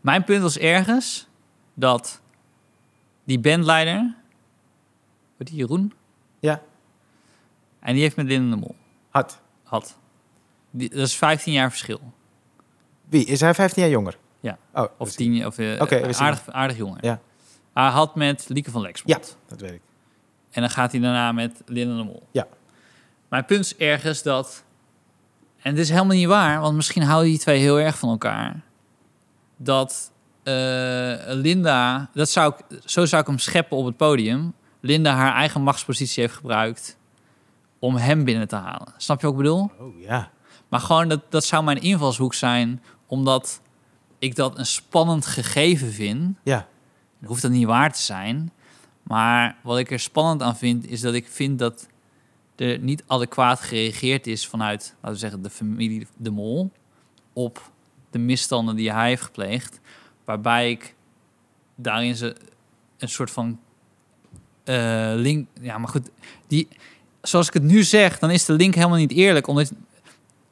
B: Mijn punt was ergens dat die bandleider... Wat die, Jeroen?
A: Ja.
B: En die heeft met Linden de Mol
A: Had.
B: had. Die, dat is 15 jaar verschil.
A: Wie? Is hij 15 jaar jonger?
B: Ja.
A: Oh,
B: Of tien jaar, of eh,
A: Oké, we zien
B: aardig, aardig jongen.
A: Ja.
B: Hij had met Lieke van Lexmond.
A: Ja, dat weet ik.
B: En dan gaat hij daarna met Linda de Mol.
A: Ja.
B: Mijn punt is ergens dat... En dit is helemaal niet waar, want misschien houden die twee heel erg van elkaar. Dat eh, Linda... Dat zou ik, zo zou ik hem scheppen op het podium. Linda haar eigen machtspositie heeft gebruikt... om hem binnen te halen. Snap je wat ik bedoel?
A: Oh ja.
B: Maar gewoon, dat, dat zou mijn invalshoek zijn, omdat ik dat een spannend gegeven vind.
A: Ja.
B: Dat hoeft dat niet waar te zijn. Maar wat ik er spannend aan vind, is dat ik vind dat er niet adequaat gereageerd is vanuit, laten we zeggen, de familie De Mol op de misstanden die hij heeft gepleegd. Waarbij ik daarin ze een soort van eh, link. Ja, maar goed, die, zoals ik het nu zeg, dan is de link helemaal niet eerlijk. Omdat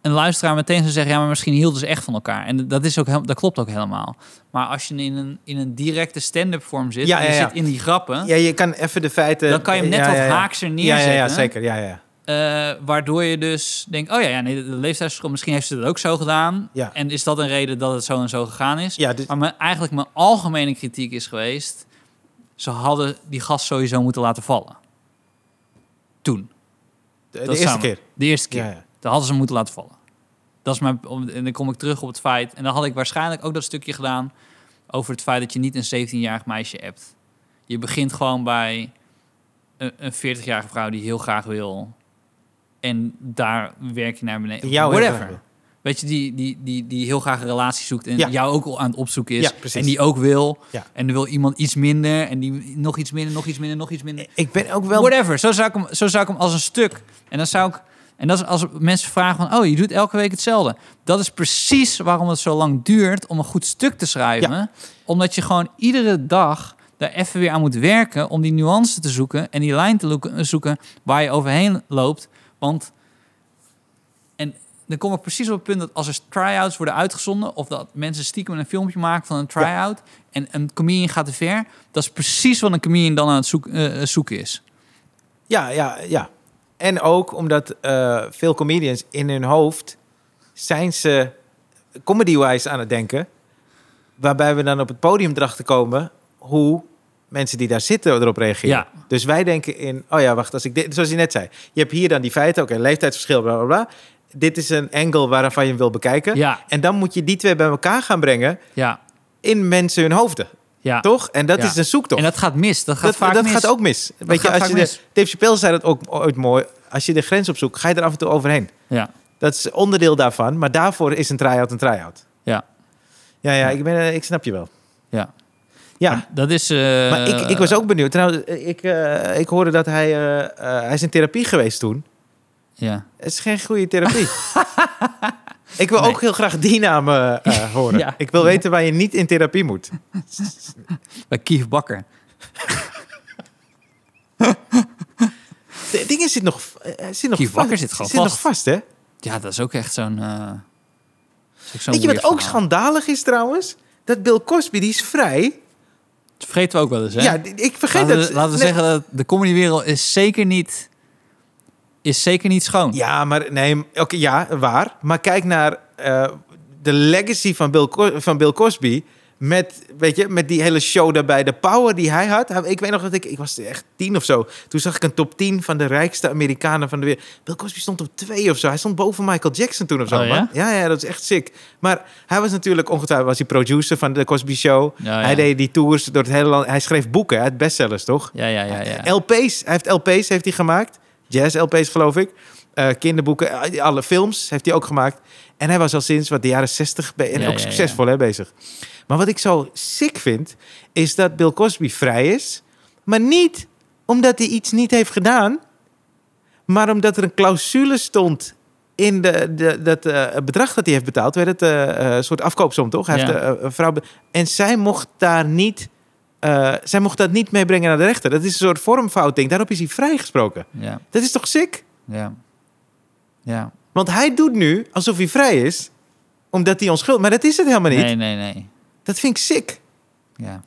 B: een luisteraar meteen zou zeggen, ja, maar misschien hielden ze echt van elkaar. En dat, is ook, heel- dat klopt ook helemaal. Maar als je in een, in een directe stand-up vorm zit,
A: Ja,
B: en je
A: ja, ja.
B: zit in die grappen,
A: Ja, je kan even de feiten...
B: dan kan je hem net
A: Ja,
B: wat
A: ja, ja.
B: haakser
A: Ja,
B: neerzetten.
A: ja, ja, zeker. Ja, ja.
B: Eh, waardoor je dus denkt, oh ja, ja nee, de leeftijdsverschil, misschien heeft ze dat ook zo gedaan.
A: Ja.
B: En is dat een reden dat het zo en zo gegaan is?
A: Ja, dus,
B: Maar mijn- eigenlijk mijn algemene kritiek is geweest... ze hadden die gast sowieso moeten laten vallen. Toen,
A: de, de
B: dat
A: eerste
B: samen.
A: keer.
B: de eerste keer.
A: Ja, ja.
B: Dat hadden ze hem moeten laten vallen. Dat is mijn, om- en dan kom ik terug op het feit... en dan had ik waarschijnlijk ook dat stukje gedaan... over het feit dat je niet een 17-jarig meisje appt. Je begint gewoon bij een, een 40-jarige vrouw die heel graag wil... en daar werk je naar beneden.
A: Die jou heel graag wil.
B: Whatever. Weet je, die, die, die, die heel graag een relatie zoekt... en
A: Ja.
B: jou ook aan het opzoeken is.
A: Ja, precies.
B: en die ook wil.
A: Ja.
B: En dan wil iemand iets minder... en die nog iets minder, nog iets minder, nog iets minder.
A: Ik ben ook wel...
B: Whatever. Zo zou, ik hem, zo zou ik hem als een stuk. En dan zou ik. En dat is als mensen vragen van, oh, je doet elke week hetzelfde. Dat is precies waarom het zo lang duurt om een goed stuk te schrijven. Omdat je gewoon iedere dag daar even weer aan moet werken om die nuance te zoeken en die lijn te loeken- zoeken waar je overheen loopt. Want en dan kom ik precies op het punt dat als er try-outs worden uitgezonden of dat mensen stiekem een filmpje maken van een try-out en een comedian gaat te ver, dat is precies wat een comedian dan aan het zoek- eh, zoeken is.
A: Ja, ja, ja. En ook omdat eh, veel comedians in hun hoofd zijn ze comedy-wise aan het denken. Waarbij we dan op het podium erachter komen hoe mensen die daar zitten erop reageren.
B: Ja.
A: Dus wij denken in, oh ja, wacht, als ik dit, zoals je net zei. Je hebt hier dan die feiten, oké, leeftijdsverschil, bla bla bla. Dit is een angle waarvan je hem wil bekijken.
B: Ja,
A: En dan moet je die twee bij elkaar gaan brengen
B: ja,
A: in mensen hun hoofden,
B: ja.
A: toch? En dat
B: Ja.
A: is een zoektocht
B: En dat gaat mis. Dat gaat
A: dat,
B: vaak
A: dat
B: mis.
A: gaat ook mis. Weet je,
B: gaat
A: als
B: vaak
A: je de,
B: mis.
A: Dave Chappelle zei dat ook ooit mooi. Als je de grens opzoekt, ga je er af en toe overheen.
B: Ja,
A: Dat is onderdeel daarvan. Maar daarvoor is een try-out een try-out.
B: Ja.
A: Ja, ja,
B: Ja.
A: ik, ben, eh, ik snap je wel.
B: Ja.
A: Ja,
B: dat is... eh,
A: maar ik, ik was ook benieuwd. Trouwens, eh, ik, eh, ik hoorde dat hij... eh, eh, hij is in therapie geweest toen.
B: Ja.
A: Het is geen goede therapie. ik wil
B: Nee.
A: ook heel graag die naam eh, eh, horen.
B: Ja.
A: Ik wil weten waar je niet in therapie moet.
B: Bij Kief Bakker.
A: De dingen zit nog, eh, zit nog
B: Kief
A: vast.
B: Bakker zit gewoon
A: zit nog
B: vast.
A: vast, hè?
B: Ja, dat is ook echt zo'n... eh, dat is ook zo'n
A: Weet je wat
B: weird
A: ook
B: verhaal.
A: schandalig is trouwens? Dat Bill Cosby, die is vrij.
B: Dat vergeten we ook wel eens, hè?
A: Ja, d- ik vergeet
B: laten we,
A: dat.
B: laten we
A: Nee.
B: zeggen dat de comedywereld is zeker niet... Is zeker niet schoon.
A: Ja, maar nee, oké, ja, waar. Maar kijk naar eh, de legacy van Bill, Co- van Bill Cosby. Met, weet je, met die hele show daarbij, de power die hij had. Hij- Ik weet nog dat ik, ik was echt tien of zo. Toen zag ik een top 10 van de rijkste Amerikanen van de wereld. Bill Cosby stond op twee of zo. Hij stond boven Michael Jackson toen of zo.
B: Oh, ja?
A: man. Ja, ja, dat is echt sick. Maar hij was natuurlijk, ongetwijfeld was hij producer van de Cosby Show.
B: Oh, Ja, ja.
A: Hij deed die tours door het hele land. Hij schreef boeken, hè, het bestsellers, toch?
B: Ja, ja, ja. ja.
A: LP's, hij heeft LP's heeft hij gemaakt. Jazz-LP's, geloof ik. Eh, kinderboeken, eh, alle films heeft hij ook gemaakt. En hij was al sinds wat de jaren 60 be- en
B: Ja,
A: ook
B: ja,
A: succesvol Hè, bezig. Maar wat ik zo sick vind, is dat Bill Cosby vrij is. Maar niet omdat hij iets niet heeft gedaan, maar omdat er een clausule stond in de, de, dat eh, het bedrag dat hij heeft betaald. Weet het, eh, eh, een soort afkoopsom, toch? Hij
B: Ja.
A: heeft, eh, een vrouw be- en zij mocht daar niet... eh, zij mocht dat niet meebrengen naar de rechter. Dat is een soort vormfouting. Daarop is hij vrijgesproken.
B: Ja,
A: Dat is toch sick?
B: ja. Ja.
A: Want hij doet nu alsof hij vrij is, omdat hij onschuldig... Maar dat is het helemaal niet.
B: Nee, nee, nee.
A: Dat vind ik sick.
B: Ja.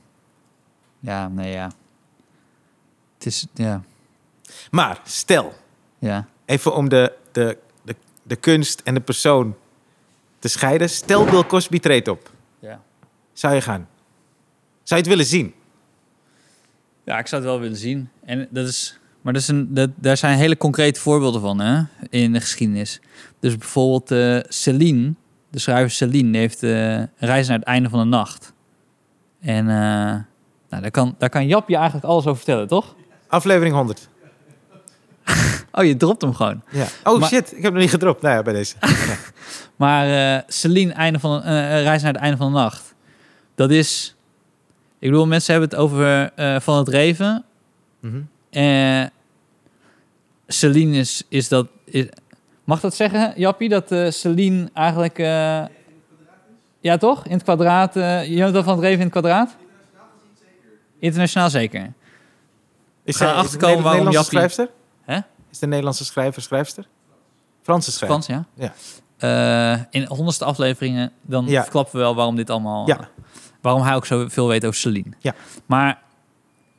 B: Ja, nee, ja. Het is... Ja.
A: Maar stel,
B: Ja.
A: even om de, de, de, de kunst en de persoon te scheiden. Stel Bill Cosby treedt op.
B: Ja.
A: Zou je gaan? Zou je het willen zien?
B: Ja, ik zou het wel willen zien. En dat is, maar dat is een, dat, daar zijn hele concrete voorbeelden van hè, in de geschiedenis. Dus bijvoorbeeld eh Celine, de schrijver Celine, die heeft eh, een reis naar het einde van de nacht. En eh, nou, daar, kan, daar kan Jap je eigenlijk alles over vertellen, toch?
A: Aflevering 100.
B: Oh, je dropt hem gewoon.
A: Ja. Oh
B: Maar-
A: shit, ik heb nog niet gedropt. Nou ja, bij deze.
B: Maar eh, Celine, einde van, de- eh, eh, reis naar het einde van de nacht. Dat is... Ik bedoel, mensen hebben het over eh, Van het Reven.
A: Mhm.
B: Eh Celine is, is dat... is- mag dat zeggen, Jappie? Dat eh Celine eigenlijk... eh, ja, toch? In het kwadraat. eh Jonathan van het Reven in het kwadraat? Internationaal zeker.
A: Is
B: gaan
A: zij- is
B: achterkomen
A: het een
B: waarom
A: Nederlandse
B: Jappie-
A: schrijfster?
B: Hè?
A: Is de Nederlandse schrijver schrijfster? Franse schrijver.
B: Frans, ja?
A: Ja.
B: Eh, in honderdste afleveringen dan
A: Ja.
B: verklappen we wel waarom dit allemaal...
A: Ja.
B: waarom hij ook zoveel weet over Celine.
A: Ja.
B: Maar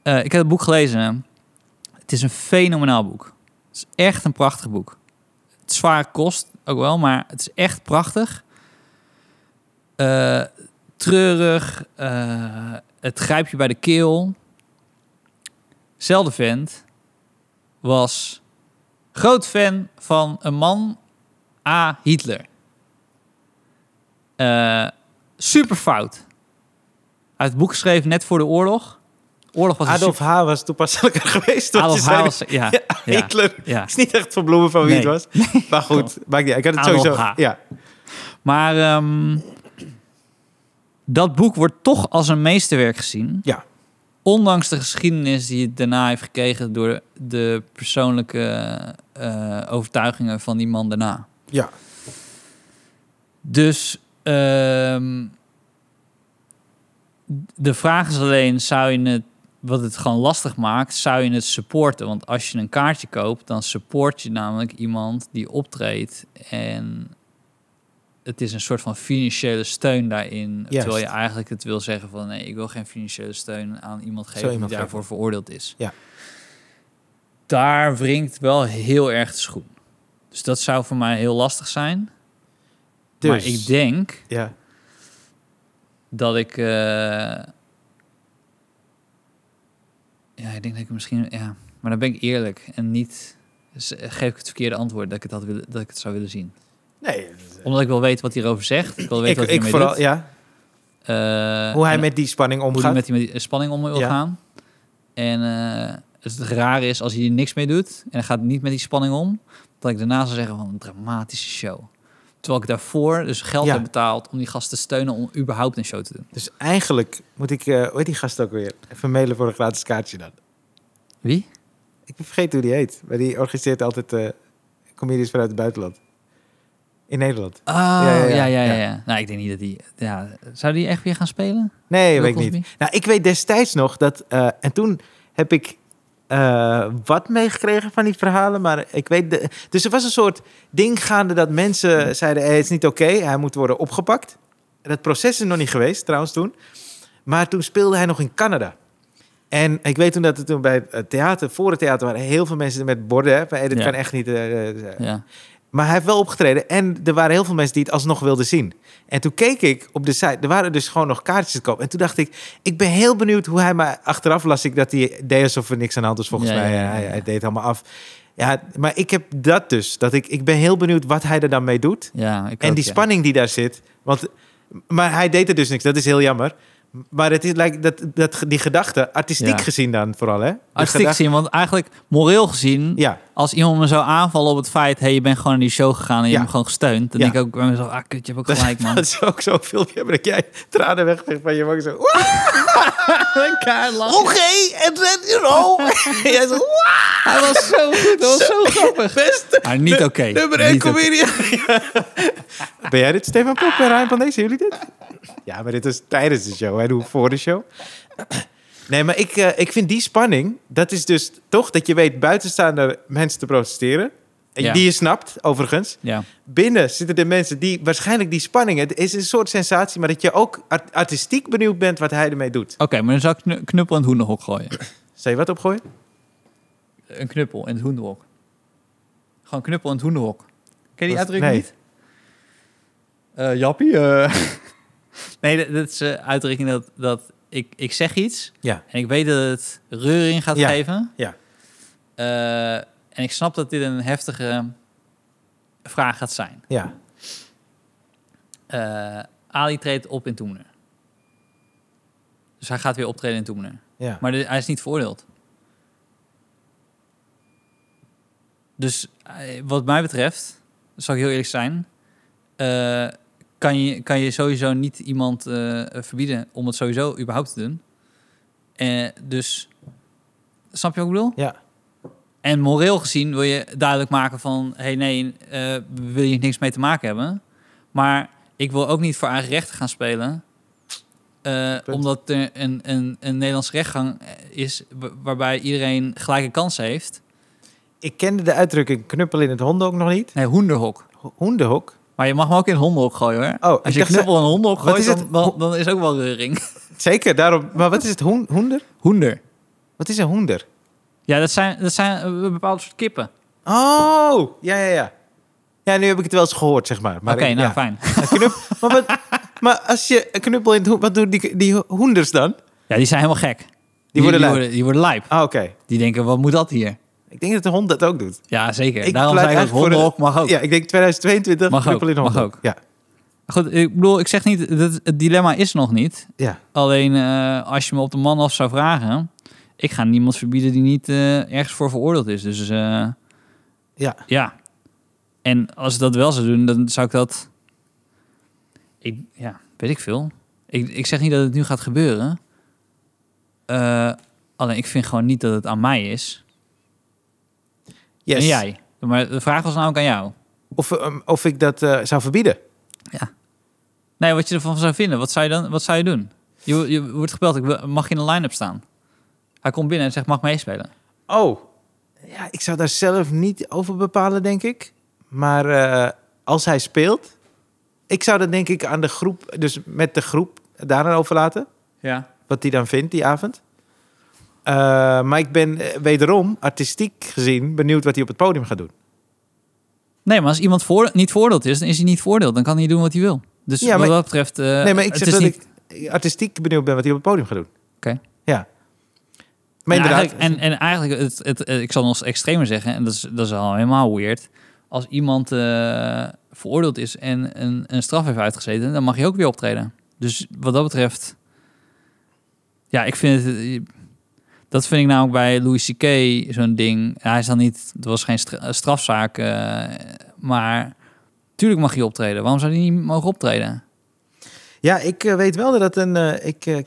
B: eh, ik heb het boek gelezen. Het is een fenomenaal boek. Het is echt een prachtig boek. Het zwaar kost ook wel, maar het is echt prachtig. Eh, treurig. eh, het grijpt je bij de keel. Zelfde vent was groot fan van een man, A. Hitler. Eh super fout. Hij heeft het boek geschreven net voor de oorlog. Oorlog was een
A: Adolf H. was toepasselijker geweest. want
B: Adolf
A: je zei
B: Haas, ja.
A: Ja,
B: ja.
A: Hitler.
B: ja.
A: is niet echt van bloemen van wie
B: Nee.
A: het was. Maar goed, maakt niet uit. Ik had het
B: Adolf
A: sowieso...
B: H.
A: Ja.
B: Maar ehm, dat boek wordt toch als een meesterwerk gezien.
A: Ja.
B: Ondanks de geschiedenis die het daarna heeft gekregen door de persoonlijke eh, overtuigingen van die man daarna.
A: Ja.
B: Dus ehm, de vraag is alleen, zou je het, wat het gewoon lastig maakt, zou je het supporten? Want als je een kaartje koopt, dan support je namelijk iemand die optreedt. En het is een soort van financiële steun daarin. Terwijl je eigenlijk het wil zeggen van, nee, ik wil geen financiële steun aan iemand geven
A: iemand
B: die daarvoor veroordeeld is.
A: Ja.
B: Daar wringt wel heel erg de schoen. Dus dat zou voor mij heel lastig zijn.
A: Dus,
B: Maar ik denk
A: ja.
B: dat ik. eh, ja, ik denk dat ik misschien. Ja, maar dan ben ik eerlijk en niet. z- Geef ik het verkeerde antwoord dat ik het, had willen, dat ik het zou willen zien.
A: Nee,
B: Omdat ik wil weten wat hij erover zegt. Ik wil weten
A: ik,
B: wat hij
A: ik
B: ermee
A: vooral...
B: doet.
A: Ja,
B: Eh,
A: hoe hij
B: en
A: met die spanning
B: hoe hij
A: omgaat.
B: met die met die spanning om wil
A: Ja.
B: gaan. En eh, dus het raar is als hij er niks mee doet en hij gaat niet met die spanning om, dat ik daarna zou zeggen van een dramatische show. Terwijl ik daarvoor dus geld
A: Ja.
B: heb betaald om die gast te steunen om überhaupt een show te doen.
A: Dus eigenlijk moet ik... eh hoe heet die gast ook weer? Even mailen voor een gratis kaartje dan.
B: Wie?
A: Ik vergeet hoe die heet. Maar die organiseert altijd eh comedies vanuit het buitenland. In Nederland.
B: Oh,
A: Ja,
B: ja,
A: ja,
B: ja,
A: ja,
B: ja.
A: ja.
B: Nou, ik denk niet dat die... Ja, zou die echt weer gaan spelen?
A: Nee,
B: Bill
A: weet ik niet.
B: Cosby?
A: Nou, ik weet destijds nog dat... eh, en toen heb ik eh, wat meegekregen van die verhalen, maar ik weet... De, dus er was een soort ding gaande dat mensen zeiden... "Hey, het is niet oké, hij moet worden opgepakt. Dat proces is nog niet geweest, trouwens, toen. Maar toen speelde hij nog in Canada. En ik weet toen dat er toen bij het theater, voor het theater, waren heel veel mensen met borden. Hè, van, hey, dit
B: Ja.
A: kan echt niet. eh, eh,
B: Ja.
A: maar hij heeft wel opgetreden en er waren heel veel mensen die het alsnog wilden zien. En toen keek ik op de site, er waren dus gewoon nog kaartjes te koop. En toen dacht ik, ik ben heel benieuwd hoe hij maar achteraf las ik dat hij deed alsof er niks aan de hand was volgens
B: Ja,
A: mij.
B: ja, ja,
A: Hij,
B: ja.
A: hij deed helemaal af. Ja, maar ik heb dat dus, dat ik, ik ben heel benieuwd wat hij er dan mee doet.
B: ja ik
A: En
B: ook,
A: die
B: ja.
A: spanning die daar zit. Want, maar hij deed er dus niks, dat is heel jammer. Maar het is, lijkt dat, dat, die gedachte, artistiek
B: Ja.
A: gezien dan vooral, hè? De
B: Artistiek
A: gedachte-
B: gezien, want eigenlijk moreel gezien...
A: Ja,
B: Als iemand me zou aanvallen op het feit... hey, je bent gewoon naar die show gegaan en je
A: Ja.
B: hebt hem gewoon gesteund... dan
A: Ja.
B: denk ik ook bij mezelf... ah, kut, je hebt ook
A: Dat-
B: gelijk, man.
A: dat is ook zo'n filmpje hebben dat jij tranen wegveegt van je wang. Zo, "Oeh,
B: Elkaar lachen.
A: Oké, en dan, you know. Jij zo, "Wow,
B: Hij was zo goed, dat was zo grappig.
A: beste
B: Maar niet oké.
A: nummer 1
B: Niet oké.
A: comedian. Ja. Ben jij dit, Stefan Pop en Ryan Pandey? Zien jullie dit? Ja, maar dit is tijdens de show, hè? Doe voor de show. Nee, maar ik, eh, ik vind die spanning, dat is dus toch dat je weet buitenstaande mensen te protesteren. en
B: Ja.
A: Die je snapt, overigens.
B: Ja.
A: binnen zitten de mensen die waarschijnlijk die spanning. Het is een soort sensatie, maar dat je ook art- artistiek benieuwd bent wat hij ermee doet.
B: Oké, maar dan zou ik knu- knuppel in het hoenderhok gooien.
A: Zou je wat opgooien?
B: Een knuppel in het hoenderhok. Gewoon knuppel in het hoenderhok. Ken je die
A: Dat-
B: uitdrukking
A: nee.
B: niet? Eh, jappie? eh. nee, dat, dat is een uitdrukking dat, dat ik, ik zeg iets...
A: Ja.
B: en ik weet dat het reuring gaat
A: Ja,
B: geven.
A: ja.
B: Eh, en ik snap dat dit een heftige vraag gaat zijn.
A: Ja.
B: Eh, Ali treedt op in Toemler. Dus hij gaat weer optreden in Toemler.
A: Ja.
B: Maar de- hij is niet veroordeeld. Dus eh, wat mij betreft, zal ik heel eerlijk zijn, eh, kan, je, kan je sowieso niet iemand eh, verbieden om het sowieso überhaupt te doen. Eh, dus, snap je wat ik bedoel?
A: Ja.
B: En moreel gezien wil je duidelijk maken van... hé hey, nee, eh, we wil je niks mee te maken hebben. Maar ik wil ook niet voor eigen rechten gaan spelen... eh,
A: Punt.
B: omdat er een, een, een Nederlandse rechtgang eh, is... wa- waarbij iedereen gelijke kans heeft.
A: Ik kende de uitdrukking knuppel in het hondenhok nog niet.
B: Nee, hoenderhok.
A: Ho- Hondenhok?
B: Maar je mag hem ook in het hondenhok gooien, hoor.
A: Oh, ik
B: Als je
A: dacht-
B: knuppel in een hondenhok
A: Wat
B: gooit,
A: is
B: is
A: het?
B: dan, dan, dan is ook wel reuring.
A: Zeker, daarom. Maar wat is het? Hoen, hoender?
B: Hoender.
A: Wat is een hoender?
B: Ja, dat zijn, dat zijn een bepaald eh, soort kippen.
A: Oh, ja, ja, ja. Ja, nu heb ik het wel eens gehoord, zeg maar.
B: Oké,
A: maar ik-
B: nou
A: ja.
B: fijn.
A: Een knup- maar, wat- maar als je een knuppel in het hoen- wat doen die, die hoenders dan?
B: Ja, die zijn helemaal gek. Die,
A: worden
B: die
A: lijp.
B: worden, die worden lijp.
A: Ah, oké.
B: Die denken, wat moet dat hier?
A: Ik denk dat de hond dat ook doet.
B: Ja, zeker.
A: Ik
B: Daarom
A: pleit
B: zei ik
A: eigenlijk
B: ook,
A: voor de-
B: hondenhok mag ook.
A: Ja, ik denk 2022
B: Mag ook,
A: knuppel in een
B: mag
A: hondenhok.
B: ook.
A: Ja,
B: Goed, ik bedoel, ik zeg niet, dat, het dilemma is nog niet.
A: ja.
B: Alleen eh, als je me op de man af zou vragen, ik ga niemand verbieden die niet eh, ergens voor veroordeeld is. Dus eh,
A: Ja.
B: ja. En als ik dat wel zou doen, dan zou ik dat. Ik, ja, weet ik veel. Ik, ik zeg niet dat het nu gaat gebeuren. Eh, alleen ik vind gewoon niet dat het aan mij is.
A: Yes.
B: En jij. Maar de vraag was namelijk aan jou.
A: Of, ehm, of ik dat eh, zou verbieden.
B: Nee, wat je ervan zou vinden. Wat zou je dan wat zou je doen? Je, je wordt gebeld. Ik wil- mag je in de line-up staan? Hij komt binnen en zegt, mag ik meespelen?
A: Oh. Ja, ik zou daar zelf niet over bepalen, denk ik. Maar eh, als hij speelt... Ik zou dat denk ik aan de groep... Dus met de groep daaraan overlaten.
B: Ja.
A: Wat die dan vindt die avond. Eh, maar ik ben eh, wederom, artistiek gezien... benieuwd wat hij op het podium gaat doen.
B: Nee, maar als iemand voor, niet voordeeld is, dan is hij niet voordeeld. Dan kan hij doen wat hij wil. Dus
A: Ja, maar-
B: wat dat betreft... eh,
A: nee, maar ik
B: het
A: zeg
B: is
A: dat
B: niet...
A: ik artistiek benieuwd ben wat hij op het podium gaat doen.
B: Oké.
A: Ja. Maar
B: en
A: inderdaad...
B: eigenlijk, en, en eigenlijk het, het, eh, ik zal nog eens extremer zeggen, en dat is, dat is al helemaal weird. Als iemand eh, veroordeeld is en een, een straf heeft uitgezeten, dan mag je ook weer optreden. Dus wat dat betreft... Ja, ik vind het... eh, Dat vind ik namelijk bij Louis C.K. zo'n ding. Hij is dan niet... Het was geen stra- eh, strafzaak, eh, maar... Tuurlijk mag hij optreden. Waarom zou hij niet mogen optreden?
A: Ja, ik eh, weet wel dat een. eh, ik eh,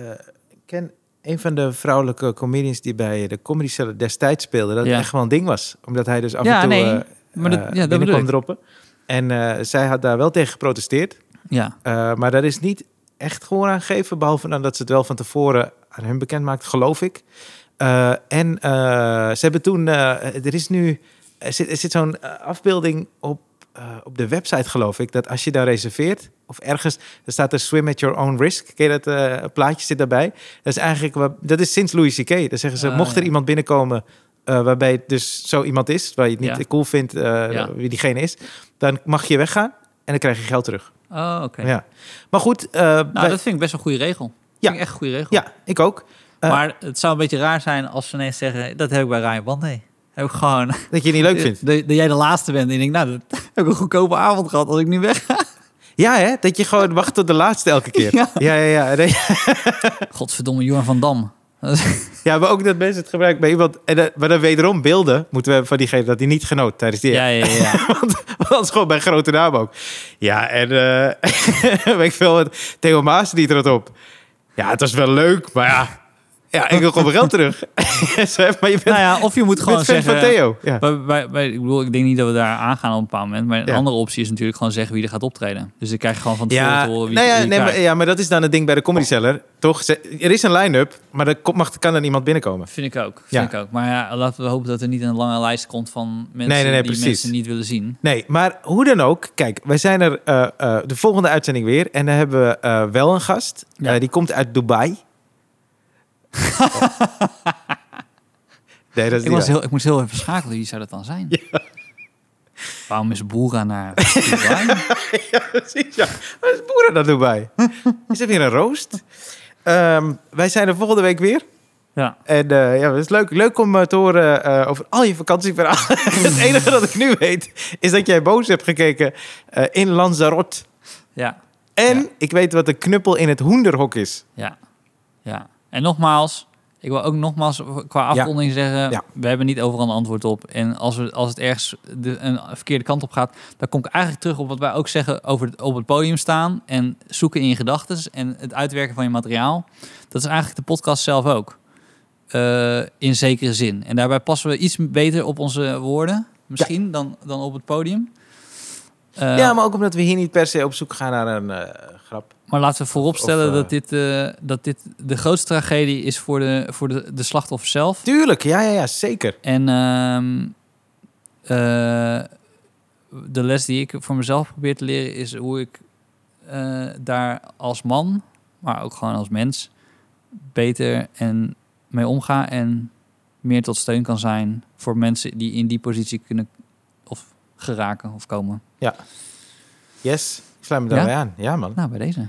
A: eh, ken een van de vrouwelijke comedians die bij de Comedy Cellar destijds speelde. Dat
B: Ja.
A: het echt wel een ding was. Omdat hij dus af
B: Ja,
A: en toe
B: nee,
A: eh,
B: maar dat-
A: eh,
B: ja, dat
A: binnen
B: bedoel
A: kwam
B: ik.
A: droppen. En eh, zij had daar wel tegen geprotesteerd.
B: Ja,
A: Eh, maar daar is niet echt gehoor aan gegeven. Behalve dan dat ze het wel van tevoren aan hun bekend maakt, geloof ik. Eh, en eh, ze hebben toen. eh, er is nu. Er zit, er zit zo'n eh, afbeelding op, eh, op de website, geloof ik. Dat als je daar reserveert. Of ergens. Dan staat er swim at your own risk. Ken je dat eh, plaatje zit daarbij? Dat is eigenlijk. wat- Dat is sinds Louis C.K. Dan zeggen ze.
B: Ah,
A: mocht er
B: ja.
A: iemand binnenkomen. eh, waarbij het dus zo iemand is. Waar je het niet
B: Ja.
A: cool vindt. eh,
B: Ja.
A: wie diegene is. Dan mag je weggaan. En dan krijg je geld terug.
B: Oh, oké.
A: Ja. Maar goed, eh,
B: Nou,
A: wij-
B: dat vind ik best een goede regel.
A: Ja.
B: Vind ik echt een goede regel.
A: ja, ik ook. eh.
B: maar het zou een beetje raar zijn als ze ineens zeggen... dat heb ik bij Ryan Bande. Heb ik gewoon...
A: Dat je het niet leuk vindt.
B: Dat, dat jij de laatste bent. En ik denk, nou, dat heb ik een goedkope avond gehad als ik nu weg ga.
A: Ja, hè? Dat je gewoon wacht tot de laatste elke keer. Ja,
B: Ja.
A: ja, ja. Nee,
B: Godverdomme, Johan van Dam.
A: ja maar ook dat mensen het gebruiken bij iemand. En, dat- maar dan wederom beelden moeten we hebben van diegene dat hij niet genoot tijdens die.
B: Ja, ja, ja. ja.
A: Want anders gewoon bij grote namen ook. Ja, en eh, weet ik veel wat. Theo Maas die er het op. Ja, het was wel leuk, maar ja. Ja, ik wil gewoon mijn geld terug. Zo, maar je bent,
B: nou ja, of je moet
A: je
B: gewoon
A: bent fan
B: zeggen...
A: van Theo. Ja.
B: Bij, bij, bij- ik bedoel, ik denk niet dat we daar aangaan op een bepaald moment. Maar een
A: Ja.
B: andere optie is natuurlijk gewoon zeggen wie er gaat optreden. Dus dan krijg je gewoon van tevoren
A: Ja,
B: te horen wie,
A: nou ja,
B: wie je
A: nee, maar,
B: krijgt.
A: ja, maar dat is dan het ding bij de Comedy Cellar. Toch? Ze- Er is een line-up, maar er komt- mag, kan dan iemand binnenkomen.
B: Vind ik ook, vind
A: Ja.
B: ik ook. Maar ja, laten we hopen dat er niet een lange lijst komt van mensen
A: Nee, nee, nee,
B: die
A: precies.
B: mensen niet willen zien.
A: Nee, maar hoe dan ook. Kijk, wij zijn er eh, eh, de volgende uitzending weer. En dan hebben we eh, wel een gast.
B: Ja.
A: Eh, die komt uit Dubai. nee, dat is
B: Ik,
A: niet
B: was
A: waar.
B: heel, ik moest heel even schakelen. Wie zou dat dan zijn? Waarom is Boera naar Dubai?
A: Precies, ja. Wat is boeren naar Dubai? is er weer een roost? Ehm, wij zijn er volgende week weer.
B: ja.
A: En eh, ja, het is leuk, leuk om eh, te horen eh, over al je vakantieverhalen. het enige dat ik nu weet is dat jij boos hebt gekeken eh, in Lanzarote.
B: ja,
A: En
B: Ja.
A: ik weet wat de knuppel in het hoenderhok is.
B: ja, ja. En nogmaals, ik wil ook nogmaals qua afronding zeggen...
A: Ja.
B: we hebben niet overal een antwoord op. En als, we, als het ergens de, een verkeerde kant op gaat... dan kom ik eigenlijk terug op wat wij ook zeggen over het, op het podium staan... en zoeken in je gedachten en het uitwerken van je materiaal. Dat is eigenlijk de podcast zelf ook. Eh, in zekere zin. En daarbij passen we iets beter op onze woorden, misschien, dan, dan op het podium. Eh,
A: ja, maar ook omdat we hier niet per se op zoek gaan naar een eh, grap.
B: Maar laten we vooropstellen
A: Of, eh,
B: dat, dit, eh, dat dit de grootste tragedie is voor de, voor de, de slachtoffer zelf.
A: Tuurlijk, ja, ja, ja, zeker.
B: En ehm, eh, de les die ik voor mezelf probeer te leren is hoe ik eh, daar als man, maar ook gewoon als mens, beter en mee omga en meer tot steun kan zijn voor mensen die in die positie kunnen of geraken of komen.
A: Yes, ik sluit me daarbij aan. Ja, man.
B: Nou, bij deze.